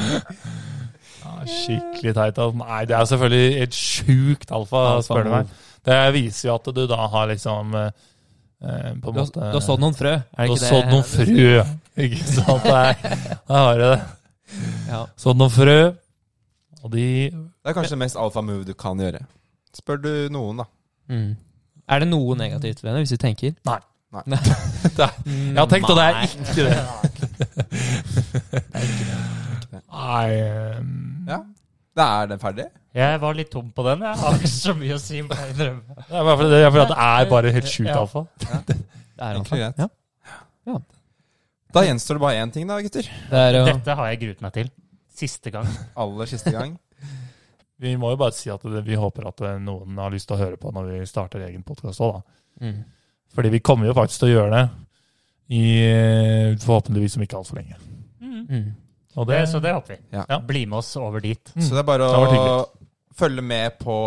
S5: Ja, Skikkelig teit. altså. Nei, det er selvfølgelig et sjukt alfa, spør du meg. Det viser jo at du da har liksom eh, eh, på en
S3: Du har,
S5: måte
S3: du har sådd noen frø, er det
S5: Du har
S3: ikke det?
S5: sådd noen frø. Ikke sant? Det er, da har jeg det.
S3: Ja.
S5: Sådd noen frø, og de
S4: Det er kanskje det mest alfa-move du kan gjøre. Spør du noen, da.
S3: Mm. Er det noe negativt ved det, hvis vi tenker?
S5: Nei.
S4: Nei.
S5: Jeg har tenkt, og det er
S3: Nei.
S5: ikke det. Nei ehm,
S4: Ja. Da er den ferdig.
S2: Jeg var litt tom på den. Jeg har ikke så mye å si. må jeg innrømme.
S5: Det er bare fordi det, det er fordi at det er bare helt sjukt
S2: Ja.
S5: alfa.
S3: Det er alfa.
S4: Egentlig greit.
S3: Ja.
S4: Da gjenstår det bare én ting, da, gutter.
S3: Det er, jo-
S2: Dette har jeg gruet meg til. Siste gang.
S4: Aller siste gang.
S5: Vi må jo bare si at det, vi håper at eh, noen har lyst til å høre på når vi starter egen podkast òg, da.
S3: mm.
S5: Fordi vi kommer jo faktisk til å gjøre det i eh, forhåpentligvis om ikke altfor lenge.
S3: Mm.
S5: Og
S2: Det,
S5: det,
S2: så det håper vi.
S4: Ja.
S2: Bli med oss over dit.
S5: Mm.
S4: Så det er bare
S5: Det har
S4: å
S5: vært hyggelig.
S4: følge med på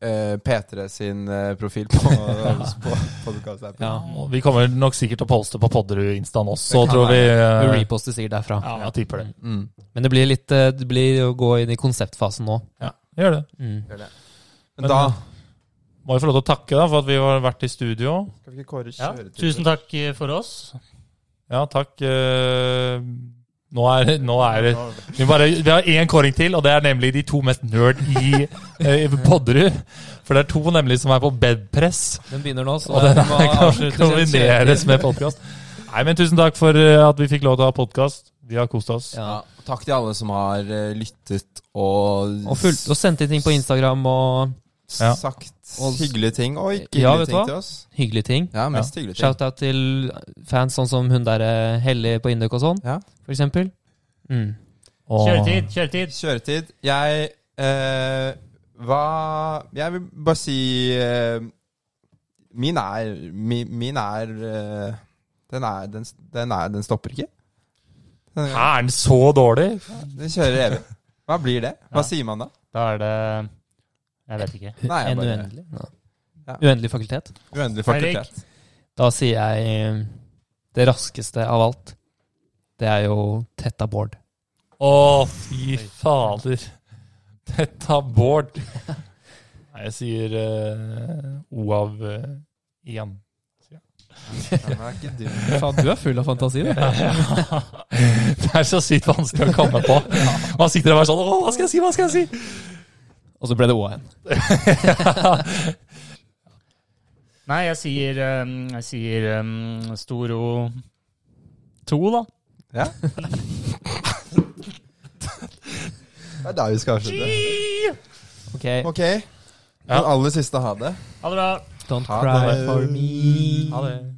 S4: eh, P3 sin eh, profil på, på podkast-appen.
S3: ja.
S5: og vi kommer nok sikkert til å poste på Podderud-instaen også,
S4: Det kan
S5: tror vi.
S3: Du
S5: eh,
S3: reposter sikkert derfra.
S5: Ja, jeg tipper det.
S4: Mm.
S3: Men det blir litt eh, Det blir å gå inn i konseptfasen nå.
S5: Ja, gjør det.
S3: Mm.
S4: Men da
S5: Må jo få lov til å takke da, for at vi har vært i studio.
S4: Skal vi ikke Kåre
S2: Ja.
S4: kjøre til?
S2: Tusen takk eh, for oss.
S5: Ja, takk. eh, Nå er, nå er det vi, bare, vi har én kåring til, og det er nemlig de to mest nerd i eh, Podderud. For det er to nemlig som er på bedpress.
S3: Den begynner nå, så
S5: Og den
S3: vi må
S5: her kan
S3: avslutte
S5: kombineres med podkast. Nei, men tusen takk for eh, at vi fikk lov til å ha podkast. Vi har kost oss.
S3: Ja.
S4: Ja, og takk til alle som har eh, lyttet og,
S3: Og, fulgt, og sendt inn ting på Instagram og
S4: s-
S5: Ja.
S4: sagt
S3: Og-
S4: hyggelige ting. Og ikke
S3: Ja,
S4: hyggelige
S3: vet du
S4: ting
S3: hva?
S4: til oss.
S3: hyggelige ting.
S4: Ja, mest hyggelige ting.
S3: Shout-out til fans sånn som hun der eh, Helle på Induk og sånn,
S4: Ja.
S3: for eksempel. Mm.
S5: Og-
S2: Kjøretid, kjøretid.
S4: Kjøretid. Jeg eh, Hva Jeg vil bare si eh, Min er Min, min er, eh, den er, den, den er Den stopper ikke. Den,
S5: Er den så dårlig?
S4: den kjører evig. Hva blir det? Hva
S2: Ja.
S4: sier man da?
S2: Da er det Jeg vet ikke.
S4: Nei, jeg
S3: en
S4: bare-
S3: uendelig ja.
S4: Ja.
S3: Uendelig fakultet.
S4: Uendelig
S2: Eirik.
S4: fakultet.
S3: Da sier jeg eh, det raskeste av alt. Det er jo Tetta Bård.
S5: Å, fy fader. Dette er Bård. Nei, jeg sier eh, O av én.
S4: Ja, men det er ikke dyrt.
S3: Faen, du er full av fantasi, du.
S5: det er så sykt vanskelig å komme på. Man sitter der og er sånn Å, hva skal jeg si? Hva skal jeg si?
S3: Og så ble det Å igjen.
S2: Nei, jeg sier, ehm, jeg sier ehm, stor O to, da.
S4: Ja. Det er der vi skal avslutte.
S3: Ok,
S4: Ok. Den aller siste ha det.
S2: Ha det bra.
S3: don't
S4: Ha
S3: cry
S4: det.
S3: for me.
S5: Ha det.